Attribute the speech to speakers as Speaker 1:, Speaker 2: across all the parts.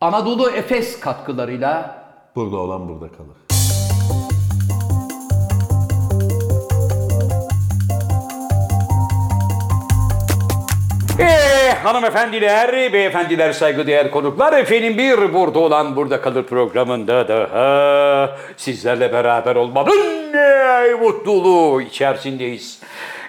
Speaker 1: Anadolu Efes katkılarıyla
Speaker 2: Burada olan burada kalır.
Speaker 3: Eee hanımefendiler, beyefendiler, saygıdeğer konuklar. Efendim bir burada olan burada kalır programında daha sizlerle beraber olmanın ne mutluluğu içerisindeyiz.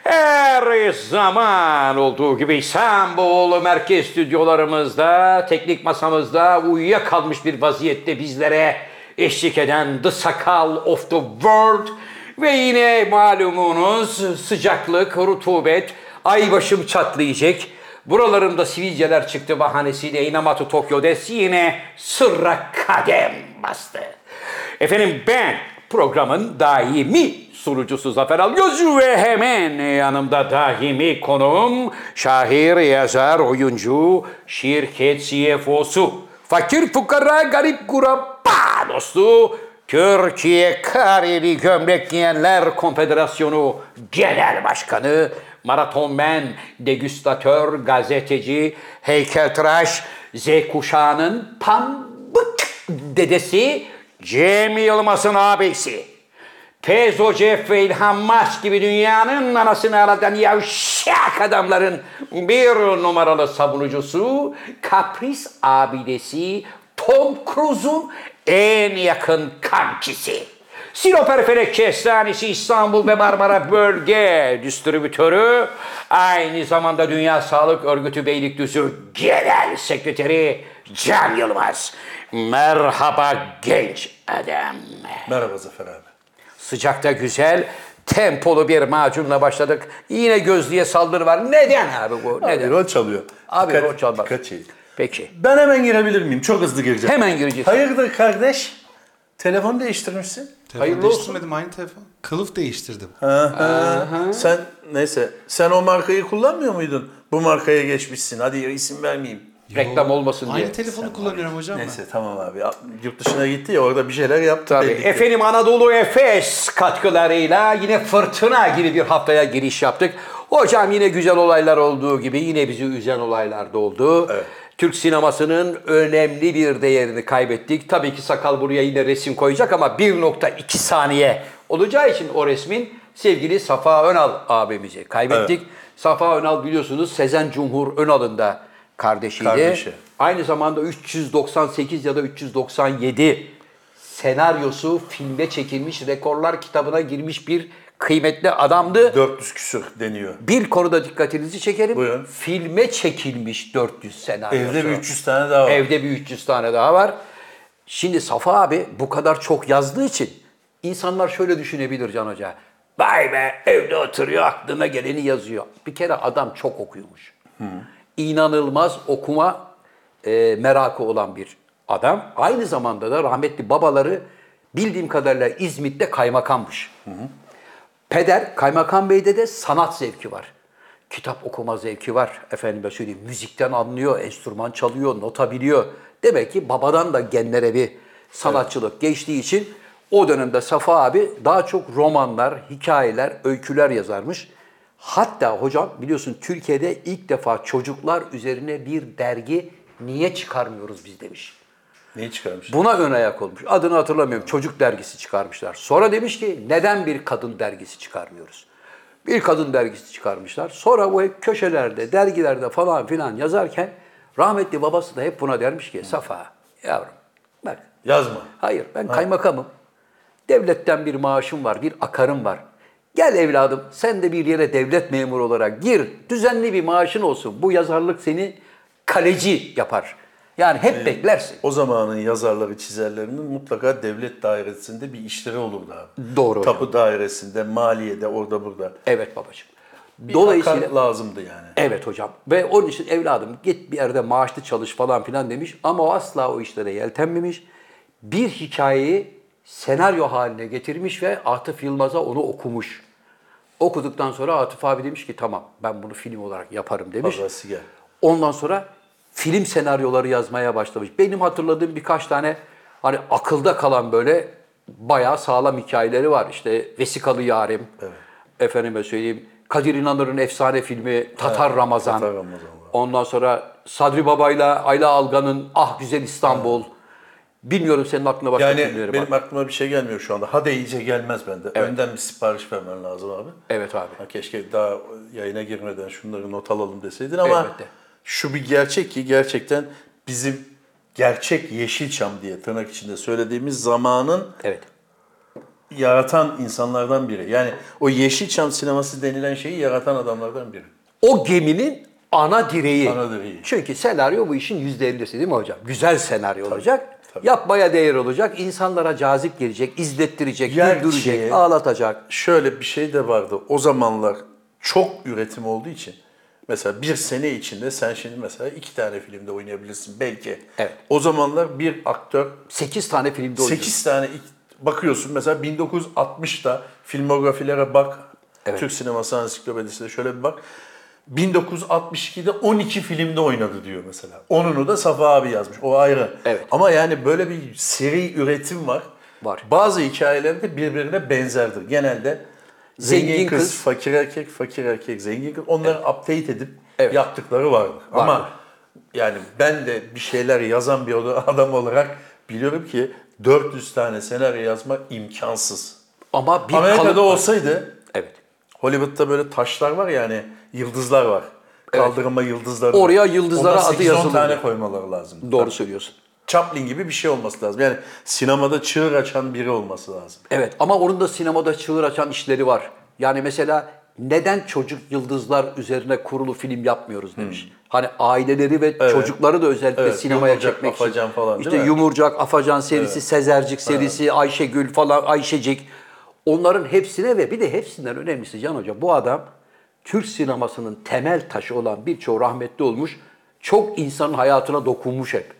Speaker 3: Her zaman olduğu gibi İstanbul merkez stüdyolarımızda, teknik masamızda uyuyakalmış bir vaziyette bizlere eşlik eden The Sakal of the World ve yine malumunuz sıcaklık, rutubet, ay başım çatlayacak. Buralarımda sivilceler çıktı bahanesiyle Inamatu Tokyo Des yine sırra kadem bastı. Efendim ben programın daimi sunucusu Zafer Algözü ve hemen yanımda daimi konuğum şair, yazar, oyuncu, şirket CFO'su. Fakir, fukara, garip, kurabba dostu Türkiye Kareli Gömlek Giyenler Konfederasyonu Genel Başkanı, maratonmen, degüstatör, gazeteci, heykeltıraş, Z kuşağının pambık dedesi, Cem Yılmaz'ın ağabeysi. Pezo Jeff ve İlhan Mas gibi dünyanın anasını ağlatan yavşak adamların bir numaralı savunucusu, kapris abidesi Tom Cruise'un en yakın kankisi. Sinop Erfelek Kestanesi İstanbul ve Marmara Bölge Distribütörü, aynı zamanda Dünya Sağlık Örgütü Beylikdüzü Genel Sekreteri Can Yılmaz. Merhaba genç adam.
Speaker 2: Merhaba Zafer abi.
Speaker 3: Sıcakta güzel, tempolu bir macunla başladık. Yine gözlüğe saldırı var. Neden abi bu?
Speaker 2: Abi
Speaker 3: Neden?
Speaker 2: rol çalıyor.
Speaker 3: Abi, rol çal bak.
Speaker 2: Dikkat çekin.
Speaker 3: Peki.
Speaker 2: Ben hemen girebilir miyim? Çok hızlı gireceğim.
Speaker 3: Hemen gireceğiz.
Speaker 2: Hayırdır kardeş? Telefon değiştirmişsin.
Speaker 4: Telefon
Speaker 3: Hayırlı olsun.
Speaker 4: değiştirmedim aynı telefon. Kılıf değiştirdim.
Speaker 2: ee, Sen neyse sen o markayı kullanmıyor muydun? Bu markaya geçmişsin. Hadi isim vermeyeyim.
Speaker 3: Reklam olmasın diye.
Speaker 4: Aynı telefonu kullanıyorum hocam
Speaker 2: Neyse tamam abi. Yurt dışına gitti ya orada bir şeyler yaptı.
Speaker 3: Tabii.
Speaker 2: belli ki.
Speaker 3: Efendim Anadolu Efes katkılarıyla yine fırtına gibi bir haftaya giriş yaptık. Hocam yine güzel olaylar olduğu gibi yine bizi üzen olaylar da oldu. Türk sinemasının önemli bir değerini kaybettik. Tabii ki sakal buraya yine resim koyacak ama 1.2 saniye olacağı için o resmin sevgili Safa Önal abimizi kaybettik. Safa Önal biliyorsunuz Sezen Cumhur Önal'ın da kardeşiydi.
Speaker 2: Kardeşi.
Speaker 3: Aynı zamanda 398 ya da 397 senaryosu filme çekilmiş, rekorlar kitabına girmiş bir kıymetli adamdı.
Speaker 2: 400 küsür deniyor.
Speaker 3: Bir konuda dikkatinizi çekerim.
Speaker 2: Buyurun.
Speaker 3: Filme çekilmiş 400 senaryosu.
Speaker 2: Evde bir 300 tane daha var.
Speaker 3: Evde bir 300 tane daha var. Şimdi Safa abi bu kadar çok yazdığı için insanlar şöyle düşünebilir Can Hoca. Vay be evde oturuyor aklına geleni yazıyor. Bir kere adam çok okuyormuş. İnanılmaz okuma e, merakı olan bir adam. Aynı zamanda da rahmetli babaları bildiğim kadarıyla İzmit'te kaymakammış. Peder Kaymakam Bey'de de sanat zevki var. Kitap okuma zevki var. Efendime söyleyeyim müzikten anlıyor, enstrüman çalıyor, nota biliyor. Demek ki babadan da genlere bir sanatçılık geçtiği için o dönemde Safa abi daha çok romanlar, hikayeler, öyküler yazarmış. Hatta hocam biliyorsun Türkiye'de ilk defa çocuklar üzerine bir dergi niye çıkarmıyoruz biz demiş.
Speaker 2: Neyi çıkarmış?
Speaker 3: Buna ön ayak olmuş. Adını hatırlamıyorum. Çocuk dergisi çıkarmışlar. Sonra demiş ki neden bir kadın dergisi çıkarmıyoruz? Bir kadın dergisi çıkarmışlar. Sonra bu hep köşelerde, dergilerde falan filan yazarken rahmetli babası da hep buna dermiş ki Safa yavrum bak
Speaker 2: Yazma.
Speaker 3: hayır ben kaymakamım. Devletten bir maaşım var, bir akarım var. Gel evladım sen de bir yere devlet memuru olarak gir. Düzenli bir maaşın olsun. Bu yazarlık seni kaleci yapar. Yani hep beklersin.
Speaker 2: O zamanın yazarları, çizerlerinin mutlaka devlet dairesinde bir işleri olurdu abi.
Speaker 3: Doğru hocam.
Speaker 2: Tapu dairesinde, maliyede, orada burada.
Speaker 3: Evet babacığım.
Speaker 2: Bir
Speaker 3: Dolayısıyla
Speaker 2: akar lazımdı yani.
Speaker 3: evet hocam ve onun için evladım git bir yerde maaşlı çalış falan filan demiş ama o asla o işlere yeltenmemiş. Bir hikayeyi senaryo haline getirmiş ve Atıf Yılmaz'a onu okumuş. Okuduktan sonra Atıf abi demiş ki tamam ben bunu film olarak yaparım demiş.
Speaker 2: Pazartesi gel.
Speaker 3: Ondan sonra film senaryoları yazmaya başlamış. Benim hatırladığım birkaç tane hani akılda kalan böyle bayağı sağlam hikayeleri var. İşte Vesikalı Yarim, efendime söyleyeyim Kadir İnanır'ın efsane filmi Tatar Ramazan.
Speaker 2: Tatar Ramazan var.
Speaker 3: Ondan sonra Sadri Baba'yla Ayla Algan'ın Ah Güzel İstanbul. Bilmiyorum senin aklına başka
Speaker 2: Yani
Speaker 3: filmleri var.
Speaker 2: benim aklıma bir şey gelmiyor şu anda. Hadi iyice gelmez bende. Önden bir sipariş vermen lazım abi.
Speaker 3: Evet abi.
Speaker 2: Ha, keşke daha yayına girmeden şunları not alalım deseydin ama
Speaker 3: Elbette.
Speaker 2: şu bir gerçek ki gerçekten bizim gerçek Yeşilçam diye tırnak içinde söylediğimiz zamanın
Speaker 3: Evet.
Speaker 2: yaratan insanlardan biri. Yani o Yeşilçam sineması denilen şeyi yaratan adamlardan biri.
Speaker 3: O geminin ana direği.
Speaker 2: Ana direği.
Speaker 3: Çünkü senaryo bu işin yüzde ellisi değil mi hocam? Güzel senaryo olacak. Yapmaya değer olacak. insanlara cazip gelecek, izlettirecek,
Speaker 2: Gerçi-
Speaker 3: güldürecek, ağlatacak.
Speaker 2: Şöyle bir şey de vardı. O zamanlar çok üretim olduğu için mesela bir sene içinde sen şimdi mesela iki tane filmde oynayabilirsin belki.
Speaker 3: Evet.
Speaker 2: O zamanlar bir aktör
Speaker 3: 8 tane filmde oynuyor.
Speaker 2: 8 tane ilk- bakıyorsun mesela 1960'ta filmografilere bak.
Speaker 3: Evet.
Speaker 2: Türk sineması ansiklopedisine şöyle bir bak. 1962'de 12 filmde oynadı diyor mesela. Onunu da Safa abi yazmış. O ayrı.
Speaker 3: Evet.
Speaker 2: Ama yani böyle bir seri üretim var.
Speaker 3: Var.
Speaker 2: Bazı hikayeler de birbirine benzerdir. Genelde zengin,
Speaker 3: Zengin
Speaker 2: kız,
Speaker 3: kız.
Speaker 2: fakir erkek, fakir erkek, zengin kız. Onları update edip
Speaker 3: Evet.
Speaker 2: yaptıkları vardır.
Speaker 3: Vardır.
Speaker 2: Ama yani ben de bir şeyler yazan bir adam olarak biliyorum ki 400 tane senaryo yazmak imkansız.
Speaker 3: Ama bir kalıp
Speaker 2: Amerika'da
Speaker 3: var.
Speaker 2: olsaydı
Speaker 3: Evet.
Speaker 2: Hollywood'da böyle taşlar var yani yıldızlar var. Kaldırma yıldızları.
Speaker 3: Oraya yıldızlara
Speaker 2: Ondan 8-10
Speaker 3: adı yazılırdı.
Speaker 2: tane koymaları lazım.
Speaker 3: Doğru söylüyorsun.
Speaker 2: Chaplin gibi bir şey olması lazım. Yani sinemada çığır açan biri olması lazım.
Speaker 3: Evet ama onun da sinemada çığır açan işleri var. Yani mesela neden çocuk yıldızlar üzerine kurulu film yapmıyoruz demiş. Hani aileleri ve çocukları da özellikle
Speaker 2: Hmm. Evet,
Speaker 3: sinemaya
Speaker 2: Yumurcak,
Speaker 3: çekmek için.
Speaker 2: Afacan falan değil
Speaker 3: İşte
Speaker 2: mi?
Speaker 3: Yumurcak, Afacan serisi, Sezercik serisi, Ayşegül falan, Ayşecik. Onların hepsine ve bir de hepsinden önemlisi Can Hoca bu adam Türk sinemasının temel taşı olan birçoğu rahmetli olmuş. Çok insanın hayatına dokunmuş hep.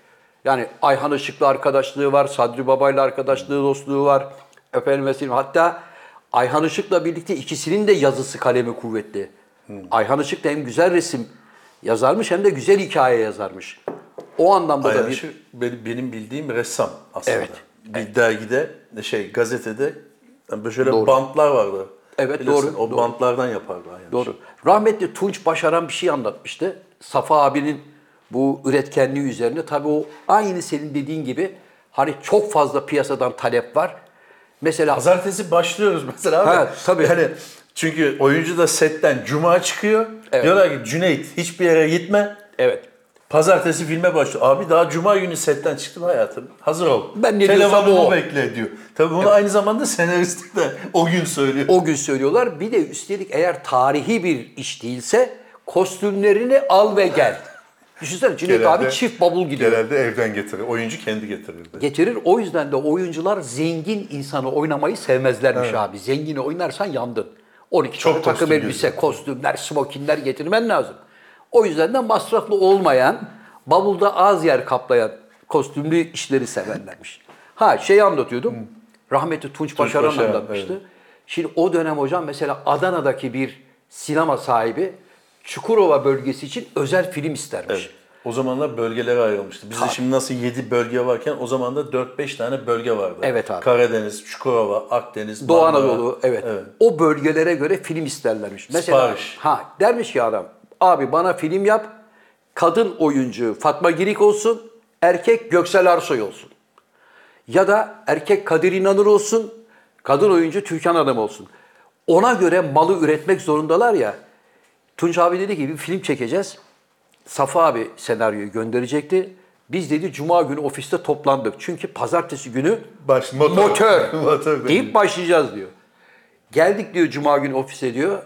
Speaker 3: Yani Ayhan Işık'la arkadaşlığı var, Sadri Baba'yla arkadaşlığı, dostluğu var. Efendim mesela hatta Ayhan Işık'la birlikte ikisinin de yazısı kalemi kuvvetli. Ayhan Işık da hem güzel resim yazarmış hem de güzel hikaye yazarmış. O anlamda da
Speaker 2: Aynen
Speaker 3: bir...
Speaker 2: şu benim, benim bildiğim ressam aslında.
Speaker 3: Evet.
Speaker 2: Bir dergide, şey gazetede yani böyle şöyle
Speaker 3: Doğru.
Speaker 2: bantlar vardı.
Speaker 3: Evet, doğru,
Speaker 2: O
Speaker 3: doğru.
Speaker 2: bantlardan yapardı. Aynen.
Speaker 3: Doğru. Rahmetli Tunç Başaran bir şey anlatmıştı. Safa abinin bu üretkenliği üzerine. Tabii o aynı senin dediğin gibi hani çok fazla piyasadan talep var. Mesela
Speaker 2: Pazartesi başlıyoruz mesela abi.
Speaker 3: Ha, tabii.
Speaker 2: Yani çünkü oyuncu da setten cuma çıkıyor.
Speaker 3: Evet.
Speaker 2: Diyorlar ki Cüneyt hiçbir yere gitme.
Speaker 3: evet.
Speaker 2: Pazartesi filme başlıyor. Abi daha cuma günü setten çıktım hayatım. Hazır ol.
Speaker 3: Ben ne
Speaker 2: Telefonumu
Speaker 3: diyorsam o.
Speaker 2: bekle diyor. Tabii bunu aynı zamanda senarist de o gün söylüyor.
Speaker 3: O gün söylüyorlar. Bir de üstelik eğer tarihi bir iş değilse kostümlerini al ve gel. Düşünsene Cüneyt
Speaker 2: Genelde-
Speaker 3: abi çift bavul gidiyor.
Speaker 2: Genelde evden getirir. Oyuncu kendi getirirdi.
Speaker 3: getirir. O yüzden de oyuncular zengin insanı oynamayı sevmezlermiş abi. Zengini oynarsan yandın. 12
Speaker 2: Çok
Speaker 3: tane takım
Speaker 2: kostüm
Speaker 3: elbise, kostümler, smokinler getirmen lazım. O yüzden de masraflı olmayan, bavulda az yer kaplayan kostümlü işleri severlermiş. Ha şeyi anlatıyordum. Rahmetli Tunç Başaran
Speaker 2: Başaran,
Speaker 3: anlatmıştı. Şimdi o dönem hocam mesela Adana'daki bir sinema sahibi Çukurova bölgesi için özel film istermiş.
Speaker 2: O zamanlar bölgelere ayrılmıştı. Bizde şimdi nasıl 7 bölge varken o zaman da 4-5 tane bölge vardı.
Speaker 3: Evet abi.
Speaker 2: Karadeniz, Çukurova, Akdeniz,
Speaker 3: Doğu
Speaker 2: Marmara.
Speaker 3: Anadolu evet. O bölgelere göre film isterlermiş. Mesela
Speaker 2: Sipariş.
Speaker 3: ha dermiş ki adam abi bana film yap. Kadın oyuncu Fatma Girik olsun, erkek Göksel Arsoy olsun. Ya da erkek Kadir İnanır olsun, kadın oyuncu Türkan Hanım olsun. Ona göre malı üretmek zorundalar ya. Tunç abi dedi ki bir film çekeceğiz. Safa abi senaryoyu gönderecekti. Biz dedi cuma günü ofiste toplandık. Çünkü pazartesi günü
Speaker 2: Baş, motor.
Speaker 3: Motör.
Speaker 2: Motor
Speaker 3: deyip başlayacağız diyor. Geldik diyor cuma günü ofise diyor.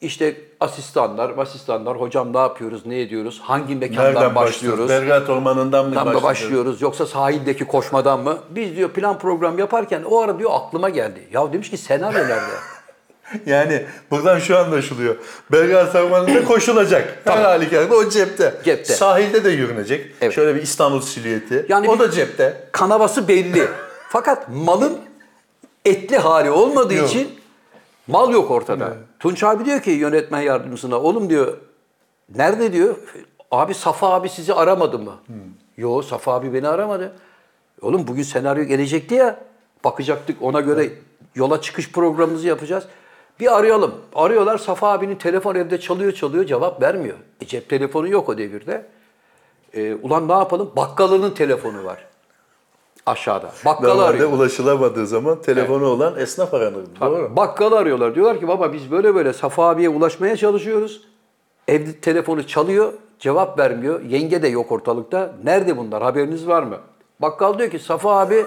Speaker 3: İşte asistanlar, asistanlar hocam ne yapıyoruz, ne ediyoruz, hangi mekandan
Speaker 2: Nereden
Speaker 3: başlıyoruz,
Speaker 2: başlıyoruz? Belgrad Ormanı'ndan mı
Speaker 3: tam da
Speaker 2: başlıyoruz?
Speaker 3: başlıyoruz yoksa sahildeki koşmadan mı? Biz diyor plan program yaparken o ara diyor aklıma geldi. Ya demiş ki senaryo nerede?
Speaker 2: Yani buradan şu anlaşılıyor. Belgrad Ormanı'nda koşulacak. Her halükarda o cepte.
Speaker 3: Cepte.
Speaker 2: Sahilde de yürünecek.
Speaker 3: Evet.
Speaker 2: Şöyle bir İstanbul silüeti.
Speaker 3: Yani
Speaker 2: o
Speaker 3: bir-
Speaker 2: da cepte.
Speaker 3: Kanavası belli. Fakat malın etli hali olmadığı
Speaker 2: Yok.
Speaker 3: için mal yok ortada. Tunç abi diyor ki yönetmen yardımcısına oğlum diyor nerede diyor? Abi Safa abi sizi aramadı mı?
Speaker 2: Hmm.
Speaker 3: Yo Safa abi beni aramadı. Oğlum bugün senaryo gelecekti ya. Bakacaktık ona göre yola çıkış programımızı yapacağız. Bir arayalım. Arıyorlar Safa abinin telefon evde çalıyor çalıyor cevap vermiyor. E, cep telefonu yok o devirde. E, ulan ne yapalım? Bakkalının telefonu var. Aşağıda. Bakkalı
Speaker 2: Normalde
Speaker 3: arıyor.
Speaker 2: ulaşılamadığı zaman telefonu olan esnaf aranırdı. Doğru mu?
Speaker 3: Bakkalı arıyorlar. Diyorlar ki baba biz böyle böyle Safa abiye ulaşmaya çalışıyoruz. Evde telefonu çalıyor, cevap vermiyor. Yenge de yok ortalıkta. Nerede bunlar? Haberiniz var mı? Bakkal diyor ki Safa abi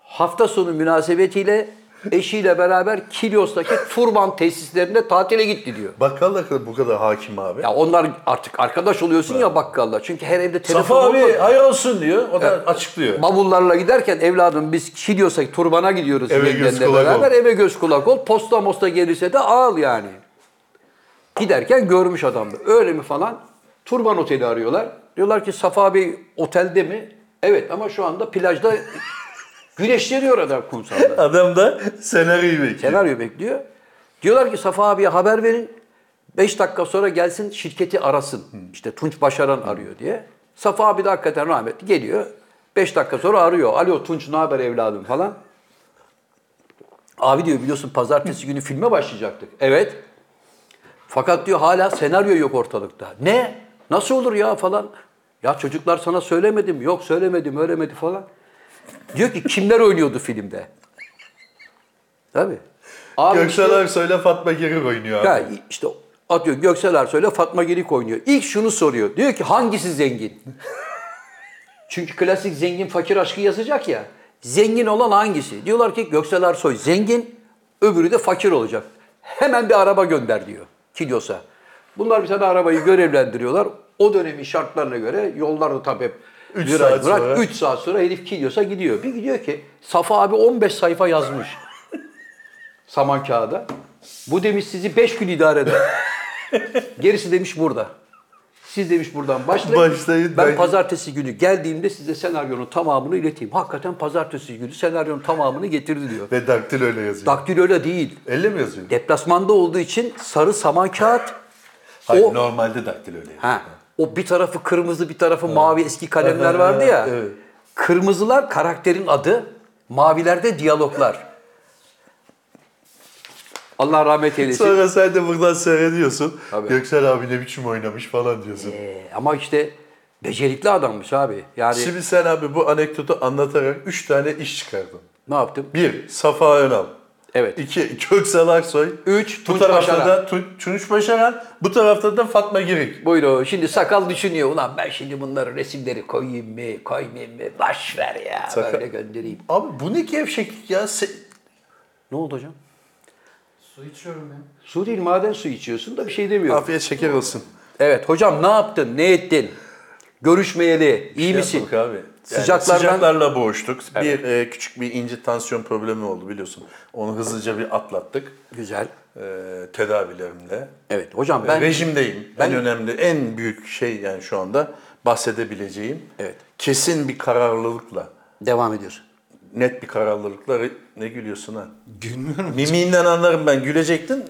Speaker 3: hafta sonu münasebetiyle eşiyle beraber Kilyos'taki Furman tesislerinde tatile gitti diyor.
Speaker 2: Bakkalla bu kadar hakim abi.
Speaker 3: Ya onlar artık arkadaş oluyorsun ya bakkalla. Çünkü her evde telefon
Speaker 2: Safa abi
Speaker 3: olmaz.
Speaker 2: hayır olsun diyor. O da açıklıyor.
Speaker 3: Bavullarla giderken evladım biz Kilyos'a, Turban'a gidiyoruz
Speaker 2: Eve
Speaker 3: yengenle
Speaker 2: göz kulak
Speaker 3: beraber.
Speaker 2: ol.
Speaker 3: Eve göz kulak ol. Posta mosta gelirse de al yani. Giderken görmüş adamdı. Öyle mi falan? Turban Oteli arıyorlar. Diyorlar ki Safa Bey otelde mi? Evet ama şu anda plajda güneşleniyor adam kumsalda.
Speaker 2: Adam da senaryoyu bekliyor.
Speaker 3: Senaryo bekliyor. Diyorlar ki Safa abiye haber verin. 5 dakika sonra gelsin şirketi arasın. İşte Tunç Başaran arıyor diye. Safa abi de hakikaten rahmetli geliyor. 5 dakika sonra arıyor. Alo Tunç ne haber evladım falan. Abi diyor biliyorsun pazartesi günü filme başlayacaktık. Evet. Fakat diyor hala senaryo yok ortalıkta. Ne? Nasıl olur ya falan. Ya çocuklar sana söylemedim. Yok söylemedim, öğrenmedi falan. Diyor ki kimler oynuyordu filmde? Tabii. Abi
Speaker 2: Göksel
Speaker 3: işte-
Speaker 2: Aksoy'la Fatma Girik oynuyor abi.
Speaker 3: Ya işte atıyor Göksel Ersoy'la Fatma Gelik oynuyor. İlk şunu soruyor. Diyor ki hangisi zengin? Çünkü klasik zengin fakir aşkı yazacak ya. Zengin olan hangisi? Diyorlar ki Göksel Ersoy zengin, öbürü de fakir olacak. Hemen bir araba gönder diyor Kilyos'a. Bunlar bir tane arabayı görevlendiriyorlar. O dönemin şartlarına göre yollar da tabii hep
Speaker 2: Üç
Speaker 3: lirayı
Speaker 2: saat
Speaker 3: bırak.
Speaker 2: sonra.
Speaker 3: Üç saat sonra herif Kilyos'a gidiyor. Bir gidiyor ki Safa abi 15 sayfa yazmış. Saman kağıda. Bu demiş sizi 5 gün idare eder. Gerisi demiş burada. Siz demiş buradan başlayın.
Speaker 2: Başlayın,
Speaker 3: ben,
Speaker 2: ben-
Speaker 3: pazartesi günü geldiğimde size senaryonun tamamını ileteyim. Hakikaten pazartesi günü senaryonun tamamını getirdi diyor.
Speaker 2: Ve daktil öyle yazıyor.
Speaker 3: Daktil öyle değil.
Speaker 2: Elle mi yazıyor?
Speaker 3: Deplasmanda olduğu için sarı saman kağıt.
Speaker 2: Hayır
Speaker 3: o,
Speaker 2: normalde daktil öyle yazıyor.
Speaker 3: ha, o bir tarafı kırmızı bir tarafı mavi eski kalemler vardı ya.
Speaker 2: Evet.
Speaker 3: Kırmızılar karakterin adı, mavilerde diyaloglar. Allah rahmet eylesin.
Speaker 2: Sonra sen de buradan seyrediyorsun.
Speaker 3: Tabii.
Speaker 2: Göksel abi ne biçim oynamış falan diyorsun.
Speaker 3: Ee, Ama işte becerikli adammış abi. Yani
Speaker 2: Şimdi sen abi bu anekdotu anlatarak 3 tane iş çıkardın.
Speaker 3: ne yaptım?
Speaker 2: 1. Safa Önal.
Speaker 3: Evet.
Speaker 2: 2. Köksal Aksoy.
Speaker 3: Üç,
Speaker 2: Bu
Speaker 3: Tunç
Speaker 2: tarafta
Speaker 3: Başaran.
Speaker 2: da Tun- Tunç Başaran. Bu tarafta da Fatma Girik.
Speaker 3: Buyurun. Şimdi sakal düşünüyor. Ulan ben şimdi bunları resimleri koyayım mı, koymayayım mı? Baş ver ya.
Speaker 2: Sakal-
Speaker 3: Böyle göndereyim.
Speaker 2: Abi bu ne gevşeklik ya? Se-
Speaker 3: Ne oldu hocam?
Speaker 4: Su içiyorum ya.
Speaker 3: Su değil maden su içiyorsun da bir şey demiyorum.
Speaker 2: Afiyet şeker olsun.
Speaker 3: Evet hocam ne yaptın? Ne ettin? Görüşmeyeli. iyi
Speaker 2: Şey
Speaker 3: misin?
Speaker 2: yapmadık Abi. Yani
Speaker 3: Sıcaklardan-
Speaker 2: sıcaklarla boğuştuk. Bir e, küçük bir ince tansiyon problemi oldu biliyorsun. Onu hızlıca bir atlattık
Speaker 3: Güzel.
Speaker 2: e, tedavilerimle. E,
Speaker 3: Evet hocam ben
Speaker 2: Rejimdeyim.
Speaker 3: ben-
Speaker 2: en önemli, en büyük şey yani şu anda bahsedebileceğim.
Speaker 3: Evet.
Speaker 2: Kesin bir kararlılıkla,
Speaker 3: devam ediyorsun.
Speaker 2: net bir kararlılıkla re- ne gülüyorsun ha?
Speaker 4: Gülmüyorum.
Speaker 2: Mimiğinden anlarım ben. Gülecektin.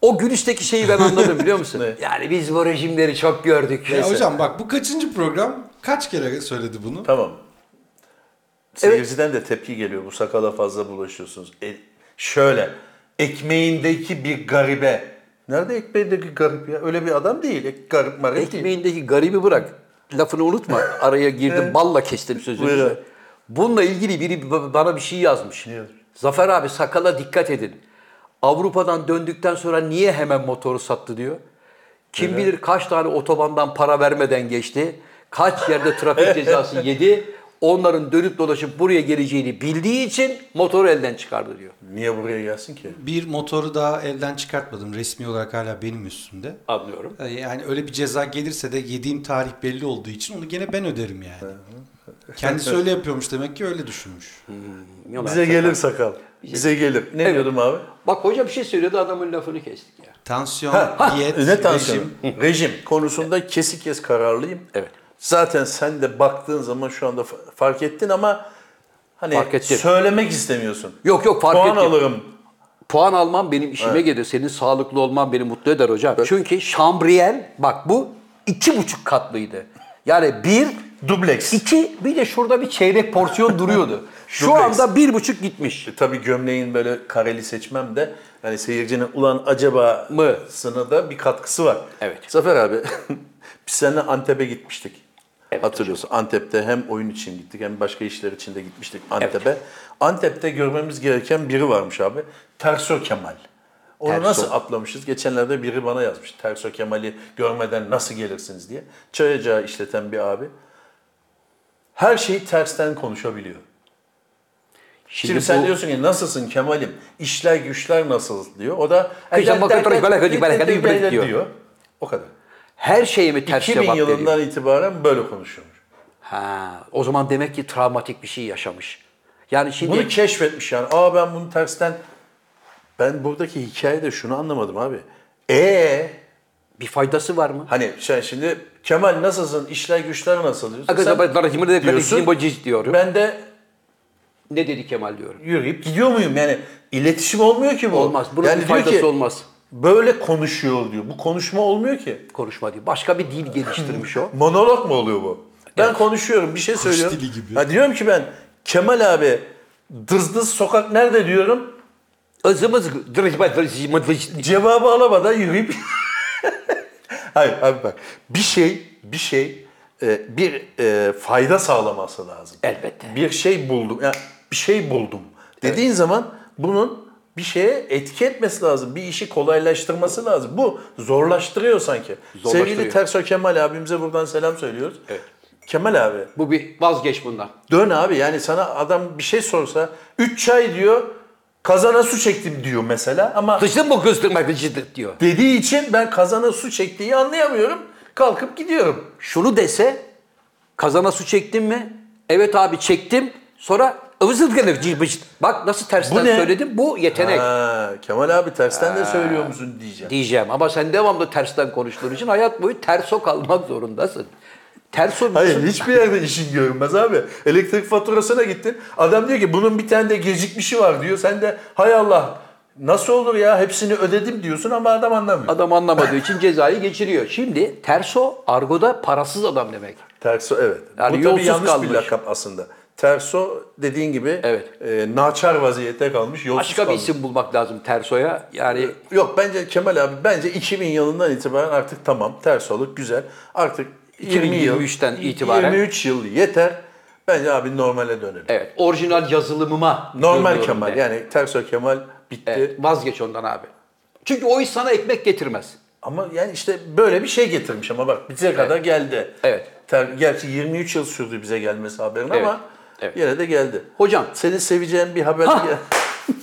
Speaker 3: O gülüşteki şeyi ben anladım biliyor musun?
Speaker 2: Ne?
Speaker 3: yani biz bu rejimleri çok gördük.
Speaker 4: Ya
Speaker 3: Neyse.
Speaker 4: hocam bak bu kaçıncı program? Kaç kere söyledi bunu?
Speaker 2: Tamam. Seyirciden de tepki geliyor. Bu sakala fazla bulaşıyorsunuz. E, şöyle. Ekmeğindeki bir garibe. Nerede ekmeğindeki garip ya? Öyle bir adam değil. Ek, garip marip değil.
Speaker 3: Ekmeğindeki garibi bırak. Lafını unutma. Araya girdim, balla kestim
Speaker 2: Buyurun.
Speaker 3: sözünü. Bununla ilgili biri b- bana bir şey yazmış. Zafer abi sakala dikkat edin. Avrupa'dan döndükten sonra niye hemen motoru sattı diyor. Kim bilir kaç tane otobandan para vermeden geçti. Kaç yerde trafik cezası yedi. Onların dönüp dolaşıp buraya geleceğini bildiği için motoru elden çıkardı diyor.
Speaker 2: Niye buraya gelsin ki?
Speaker 4: Bir motoru daha elden çıkartmadım. Resmi olarak hala benim üstümde.
Speaker 3: Anlıyorum.
Speaker 4: Ee, Yani öyle bir ceza gelirse de yediğim tarih belli olduğu için onu gene ben öderim yani. Kendisi öyle yapıyormuş demek ki öyle düşünmüş.
Speaker 2: Bize gelir sakal. Bize gelir. Ne diyordum abi?
Speaker 3: Bak hoca bir şey söyledi adamın lafını kestik ya.
Speaker 4: Tansiyon, diyet,
Speaker 2: Ne tansiyonu?
Speaker 4: rejim.
Speaker 2: Rejim konusunda kesik kes kararlıyım.
Speaker 3: Evet.
Speaker 2: Zaten sen de baktığın zaman şu anda fa- fark ettin ama hani
Speaker 3: Fark ettim.
Speaker 2: söylemek istemiyorsun.
Speaker 3: Yok yok fark
Speaker 2: Puan
Speaker 3: ettim.
Speaker 2: alırım.
Speaker 3: Puan almam benim işime gelir. Senin sağlıklı olman beni mutlu eder hocam. Çünkü şambriyel bak bu iki buçuk katlıydı. Yani bir
Speaker 2: Dubleks.
Speaker 3: İki, bir de şurada bir çeyrek porsiyon duruyordu. Şu
Speaker 2: Dubleks.
Speaker 3: anda bir buçuk gitmiş.
Speaker 2: E, Tabii gömleğin böyle kareli seçmem de yani seyircinin ulan acaba
Speaker 3: Mı?
Speaker 2: sına da bir katkısı var.
Speaker 3: Evet.
Speaker 2: Zafer abi biz seninle Antep'e gitmiştik. Hatırlıyorsun Antep'te hem oyun için gittik hem başka işler için de gitmiştik Antep'e. Antep'te görmemiz gereken biri varmış abi. Terso Kemal. Onu
Speaker 3: Terso.
Speaker 2: nasıl atlamışız? Geçenlerde biri bana yazmış. Terso Kemal'i görmeden nasıl gelirsiniz diye. Çay ocağı işleten bir abi. Her şeyi tersten konuşabiliyor. Şimdi,
Speaker 3: bu-
Speaker 2: sen diyorsun ki nasılsın Kemal'im? İşler güçler nasıl diyor. O da
Speaker 3: Kıcan bakatorik, böyle kötü, böyle kötü, böyle diyor.
Speaker 2: O kadar.
Speaker 3: Her şeyi mi ters
Speaker 2: 2000
Speaker 3: cevap veriyor?
Speaker 2: yılından itibaren böyle konuşuyormuş.
Speaker 3: Ha, o zaman demek ki travmatik bir şey yaşamış. Yani şimdi
Speaker 2: Bunu keşfetmiş yani. Aa ben bunu tersten... Ben buradaki hikayede şunu anlamadım abi. E
Speaker 3: bir faydası var mı?
Speaker 2: hani sen şimdi Kemal nasılsın? İşler güçler nasıl diyorsun.
Speaker 3: Aga, ben- ben- ben- ben-
Speaker 2: diyorsun,
Speaker 3: ben- ben- diyorum.
Speaker 2: Ben de
Speaker 3: Ne dedi Kemal diyorum.
Speaker 2: yürüyüp gidiyor muyum? Yani iletişim olmuyor ki bu.
Speaker 3: Olmaz. Bunun
Speaker 2: yani
Speaker 3: bir
Speaker 2: diyor
Speaker 3: faydası
Speaker 2: ki,
Speaker 3: olmaz.
Speaker 2: Böyle konuşuyor diyor. Bu konuşma olmuyor ki.
Speaker 3: Konuşma diyor. Başka bir dil geliştirmiş o.
Speaker 2: Monolog mu oluyor bu? Ben konuşuyorum, bir şey söylüyorum.
Speaker 4: dili gibi.
Speaker 2: Ha, diyorum ki ben Kemal abi dızdız sokak nerede diyorum.
Speaker 3: Azımız
Speaker 2: Cevabı alamadan yürüyüp Hayır abi bak. Bir şey, bir şey e, bir e, fayda sağlaması lazım.
Speaker 3: Elbette.
Speaker 2: Bir şey buldum. Yani bir şey buldum. Dediğin zaman bunun bir şeye etki etmesi lazım. Bir işi kolaylaştırması lazım. Bu zorlaştırıyor sanki.
Speaker 3: Zorlaştırıyor.
Speaker 2: Sevgili Terso Kemal abimize buradan selam söylüyoruz.
Speaker 3: Evet.
Speaker 2: Kemal abi
Speaker 3: Bu bir vazgeç bundan.
Speaker 2: Dön abi yani sana adam bir şey sorsa 3 çay diyor kazana su çektim diyor mesela ama
Speaker 3: Dışın bu kızdırmak gıcıdık diyor.
Speaker 2: dediği için ben kazana su çektiği anlayamıyorum kalkıp gidiyorum.
Speaker 3: Şunu dese kazana su çektin mi? Evet abi çektim. Sonra ıvızıl gelir, cık, bıcık. Bak nasıl tersten
Speaker 2: Bu ne?
Speaker 3: söyledim. Bu yetenek
Speaker 2: Ha, Kemal abi tersten de söylüyor musun diyeceğim.
Speaker 3: diyeceğim. Ama sen devamlı tersten konuştuğun için hayat boyu terso kalmak zorundasın. Terso şey
Speaker 2: Hayır hiçbir yerde işin görünmez abi. Elektrik faturasına gittin. Adam diyor ki bunun bir tane de gecikmişi var diyor. Sen de hay Allah nasıl olur ya hepsini ödedim diyorsun ama adam anlamıyor.
Speaker 3: adam anlamadığı için cezayı geçiriyor. Şimdi terso argoda parasız adam demek.
Speaker 2: Terso evet.
Speaker 3: Yani
Speaker 2: Bu tabii
Speaker 3: yolsuz
Speaker 2: yanlış
Speaker 3: kalmış.
Speaker 2: bir lakap aslında. Terso dediğin gibi
Speaker 3: Evet.
Speaker 2: e, naçar vaziyette kalmış, yolsuz
Speaker 3: Başka bir
Speaker 2: kalmış.
Speaker 3: isim bulmak lazım tersoya. Yani
Speaker 2: Yok bence Kemal abi bence 2000 yılından itibaren artık tamam tersoluk güzel. Artık 20 yıl
Speaker 3: 2023'ten itibaren.
Speaker 2: 23 yıl yeter. Bence abi normale dönelim.
Speaker 3: evet orijinal yazılımıma
Speaker 2: Normal
Speaker 3: dönüyorum
Speaker 2: Kemal
Speaker 3: de.
Speaker 2: yani terso Kemal bitti.
Speaker 3: Evet, E, vazgeç ondan abi. Çünkü o iş sana ekmek getirmez.
Speaker 2: Ama yani işte böyle bir şey getirmiş ama bak bize kadar geldi.
Speaker 3: Evet.
Speaker 2: Ter, gerçi 23 yıl sürdü bize gelmesi haberin
Speaker 3: Evet.
Speaker 2: ama
Speaker 3: Evet.
Speaker 2: yine de geldi.
Speaker 3: Hocam
Speaker 2: Senin seveceğin bir haber
Speaker 3: Ha!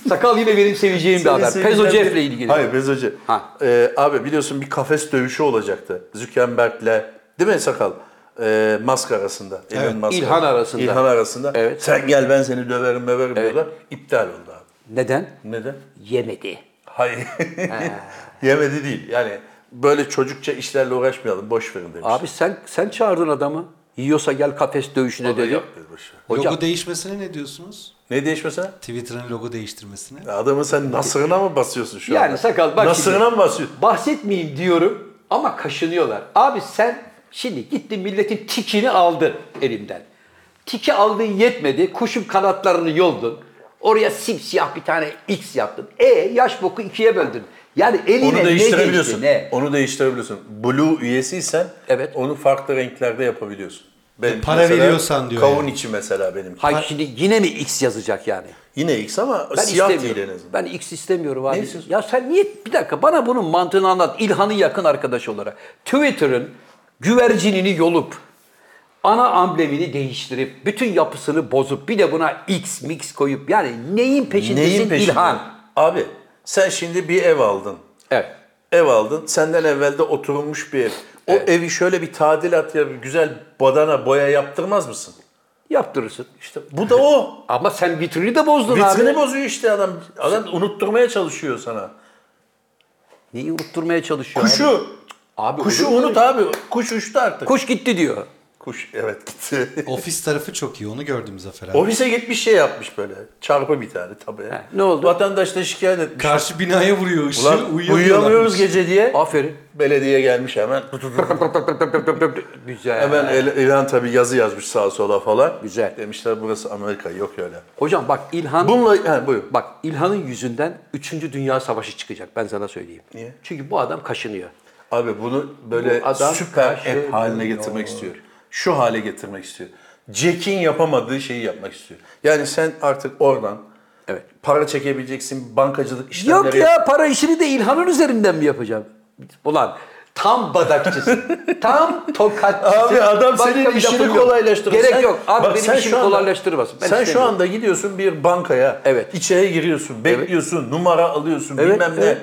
Speaker 3: sakal yine benim seveceğim bir haber.
Speaker 2: Senin
Speaker 3: Pezo
Speaker 2: sevdiğin-
Speaker 3: Jeff'le ilgili.
Speaker 2: Hayır Pezo Jeff.
Speaker 3: Ha.
Speaker 2: Ee, abi biliyorsun bir kafes dövüşü olacaktı. Zuckerberg'le değil mi Sakal? Ee, Musk arasında. Elon
Speaker 4: Evet,
Speaker 2: Musk
Speaker 3: İlhan arasında.
Speaker 2: İlhan arasında.
Speaker 3: Evet.
Speaker 2: Sen gel ben seni döverim döverim diyorlar. İptal oldu abi.
Speaker 3: Neden?
Speaker 2: Neden?
Speaker 3: Yemedi.
Speaker 2: Hayır. Yemedi değil. Yani böyle çocukça işlerle uğraşmayalım. Boş verin demiş.
Speaker 3: Abi sen sen çağırdın adamı. Yiyorsa gel kafes dövüşüne dedi.
Speaker 2: Yok, boş ver.
Speaker 3: Hocam
Speaker 4: Logo değişmesine ne diyorsunuz?
Speaker 2: Ne değişmesine?
Speaker 4: Twitter'ın logo değiştirmesine.
Speaker 2: Adamın sen nasırına mı basıyorsun şu
Speaker 3: Yani
Speaker 2: anda?
Speaker 3: Sakal bak
Speaker 2: Nasırına
Speaker 3: şimdi.
Speaker 2: mı basıyorsun?
Speaker 3: bahsetmeyeyim diyorum ama kaşınıyorlar. Abi sen şimdi gittin milletin tikini aldın elimden. Tiki aldığın yetmedi. Kuşun kanatlarını yoldun. Oraya simsiyah bir tane X yaptın. E yaş boku ikiye böldün. Yani eline
Speaker 2: Onu
Speaker 3: ne
Speaker 2: değiştirebiliyorsun.
Speaker 3: geçti ne?
Speaker 2: Onu değiştirebiliyorsun. Blue üyesiysen
Speaker 3: Evet.
Speaker 2: onu farklı renklerde yapabiliyorsun. Ben
Speaker 4: Para veriyorsan diyor
Speaker 2: Kavun
Speaker 4: yani.
Speaker 2: içi mesela benim.
Speaker 3: Hayır şimdi yine mi X yazacak yani?
Speaker 2: Yine X ama
Speaker 3: Ben
Speaker 2: siyah değil
Speaker 3: istemiyorum.
Speaker 2: en azından.
Speaker 3: Ben X istemiyorum abi.
Speaker 2: Ne istiyorsun?
Speaker 3: Ya sen niye bir dakika bana bunun mantığını anlat. İlhan'ın yakın arkadaşı olarak. Twitter'ın güvercinini yolup ana amblemini değiştirip bütün yapısını bozup bir de buna X mix koyup yani neyin peşindesin
Speaker 2: Neyin peşinde?
Speaker 3: İlhan?
Speaker 2: Abi sen şimdi bir ev aldın.
Speaker 3: Evet.
Speaker 2: Ev aldın. Senden evvelde oturulmuş bir ev. O evi şöyle bir tadilat ya bir güzel badana boya yaptırmaz mısın?
Speaker 3: Yaptırırsın.
Speaker 2: İşte bu da o.
Speaker 3: Ama sen vitrini de bozdun
Speaker 2: Vitrini
Speaker 3: abi.
Speaker 2: bozuyor işte adam. Adam unutturmaya çalışıyor sana.
Speaker 3: Neyi unutturmaya çalışıyor? abi?
Speaker 2: Kuşu.
Speaker 3: Abi
Speaker 2: Kuşu
Speaker 3: olur mu?
Speaker 2: unut abi. Kuş uçtu artık.
Speaker 3: Kuş gitti diyor.
Speaker 2: Kuş evet gitti.
Speaker 4: Ofis tarafı çok iyi onu gördüm Zafer abi.
Speaker 2: Ofise gitmiş şey yapmış böyle. Çarpı bir tane tabii.
Speaker 3: ne oldu?
Speaker 2: Vatandaş da şikayet etmiş.
Speaker 4: Karşı binaya vuruyor ışığı
Speaker 2: Ulan
Speaker 4: uyuyamıyorlarmış.
Speaker 2: uyuyamıyoruz gece diye.
Speaker 3: Aferin.
Speaker 2: Belediye gelmiş hemen.
Speaker 3: Güzel.
Speaker 2: Hemen El- İlhan tabii yazı yazmış sağa sola falan.
Speaker 3: Güzel.
Speaker 2: Demişler burası Amerika yok öyle.
Speaker 3: Hocam bak İlhan
Speaker 2: Bununla ha, buyur.
Speaker 3: bak İlhan'ın yüzünden 3. Dünya Savaşı çıkacak ben sana söyleyeyim.
Speaker 2: Niye?
Speaker 3: Çünkü bu adam kaşınıyor.
Speaker 2: Abi bunu böyle
Speaker 3: Bu adam
Speaker 2: süper
Speaker 3: karşı
Speaker 2: app haline getirmek istiyor. Şu hale getirmek istiyor. Jack'in yapamadığı şeyi yapmak istiyor. Yani sen artık oradan
Speaker 3: Evet.
Speaker 2: para çekebileceksin, bankacılık işlemleri...
Speaker 3: Yok ya para işini de İlhan'ın üzerinden mi yapacağım? Ulan tam badakçısın. tam tokatçısın.
Speaker 2: Abi adam
Speaker 3: Başka
Speaker 2: senin
Speaker 3: bir lafım
Speaker 2: işini
Speaker 3: yok.
Speaker 2: kolaylaştırır.
Speaker 3: Gerek
Speaker 2: Sen-
Speaker 3: yok. Abi
Speaker 2: Bak
Speaker 3: benim
Speaker 2: sen
Speaker 3: işimi
Speaker 2: şu anda-
Speaker 3: kolaylaştırmasın. Ben
Speaker 2: sen şu
Speaker 3: istemiyorum.
Speaker 2: anda gidiyorsun bir bankaya.
Speaker 3: Evet.
Speaker 2: içeri giriyorsun, bekliyorsun, numara alıyorsun,
Speaker 3: Evet,
Speaker 2: bilmem ne.
Speaker 3: evet.